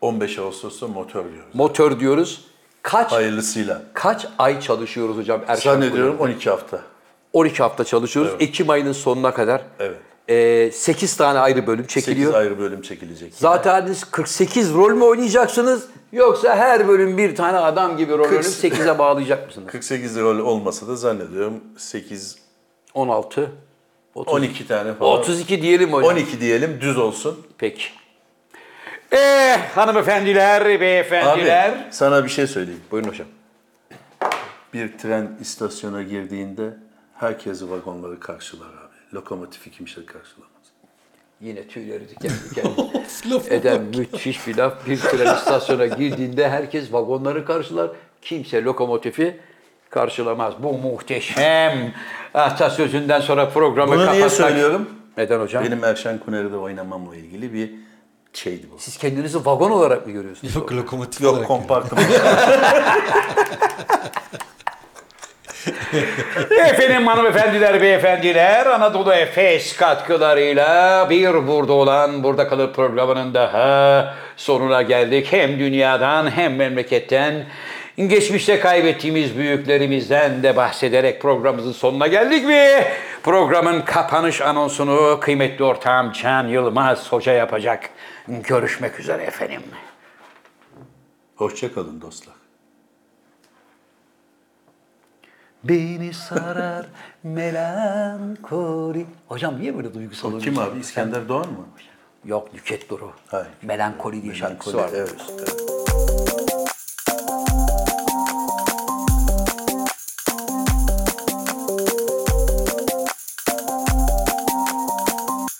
Speaker 2: 15 Ağustos'ta motor diyoruz.
Speaker 3: Motor diyoruz. Kaç
Speaker 2: Hayırlısıyla.
Speaker 3: kaç ay çalışıyoruz hocam Erşan
Speaker 2: Zannediyorum 12 hafta.
Speaker 3: Kuleri? 12 hafta çalışıyoruz. Ekim ayının sonuna kadar.
Speaker 2: Evet.
Speaker 3: 8 tane ayrı bölüm
Speaker 2: 8
Speaker 3: çekiliyor.
Speaker 2: ayrı bölüm çekilecek.
Speaker 3: Zaten siz 48 rol mü oynayacaksınız? Yoksa her bölüm bir tane adam gibi rol oynayıp 8'e bağlayacak mısınız?
Speaker 2: 48 rol olmasa da zannediyorum 8
Speaker 3: 16, 30,
Speaker 2: 12 tane falan.
Speaker 3: 32 diyelim hocam.
Speaker 2: 12 diyelim düz olsun.
Speaker 3: Peki. Eee hanımefendiler,
Speaker 2: Abi
Speaker 3: beyefendiler.
Speaker 2: sana bir şey söyleyeyim.
Speaker 3: Buyurun hocam.
Speaker 2: Bir tren istasyona girdiğinde herkes vagonları karşılar abi. Lokomotifi kimse karşılamaz.
Speaker 3: Yine tüyleri diken diken
Speaker 4: Lafı
Speaker 3: eden müthiş bir laf. Bir tren istasyona girdiğinde herkes vagonları karşılar. Kimse lokomotifi karşılamaz. Bu muhteşem atasözünden sonra programı
Speaker 2: Bunu niye
Speaker 3: kapatmak-
Speaker 2: söylüyorum?
Speaker 3: Neden hocam?
Speaker 2: Benim Erşen Kuner'de oynamamla ilgili bir şeydi bu.
Speaker 3: Siz kendinizi vagon olarak mı görüyorsunuz?
Speaker 4: Yok lokomotif
Speaker 2: Yok
Speaker 4: olarak
Speaker 2: kompartıman.
Speaker 3: Efendim hanımefendiler, beyefendiler, Anadolu Efes katkılarıyla bir burada olan Burada Kalır programının daha sonuna geldik. Hem dünyadan hem memleketten geçmişte kaybettiğimiz büyüklerimizden de bahsederek programımızın sonuna geldik ve programın kapanış anonsunu kıymetli ortağım Can Yılmaz Hoca yapacak. Görüşmek üzere efendim.
Speaker 2: Hoşçakalın dostlar.
Speaker 3: Beni sarar melankoli. Hocam niye böyle duygusal oluyorsun?
Speaker 2: Kim abi? İskender Doğan mı?
Speaker 3: Yok Nüket Duru.
Speaker 2: Hayır.
Speaker 3: Melankoli diye şarkısı var.
Speaker 2: Evet, evet.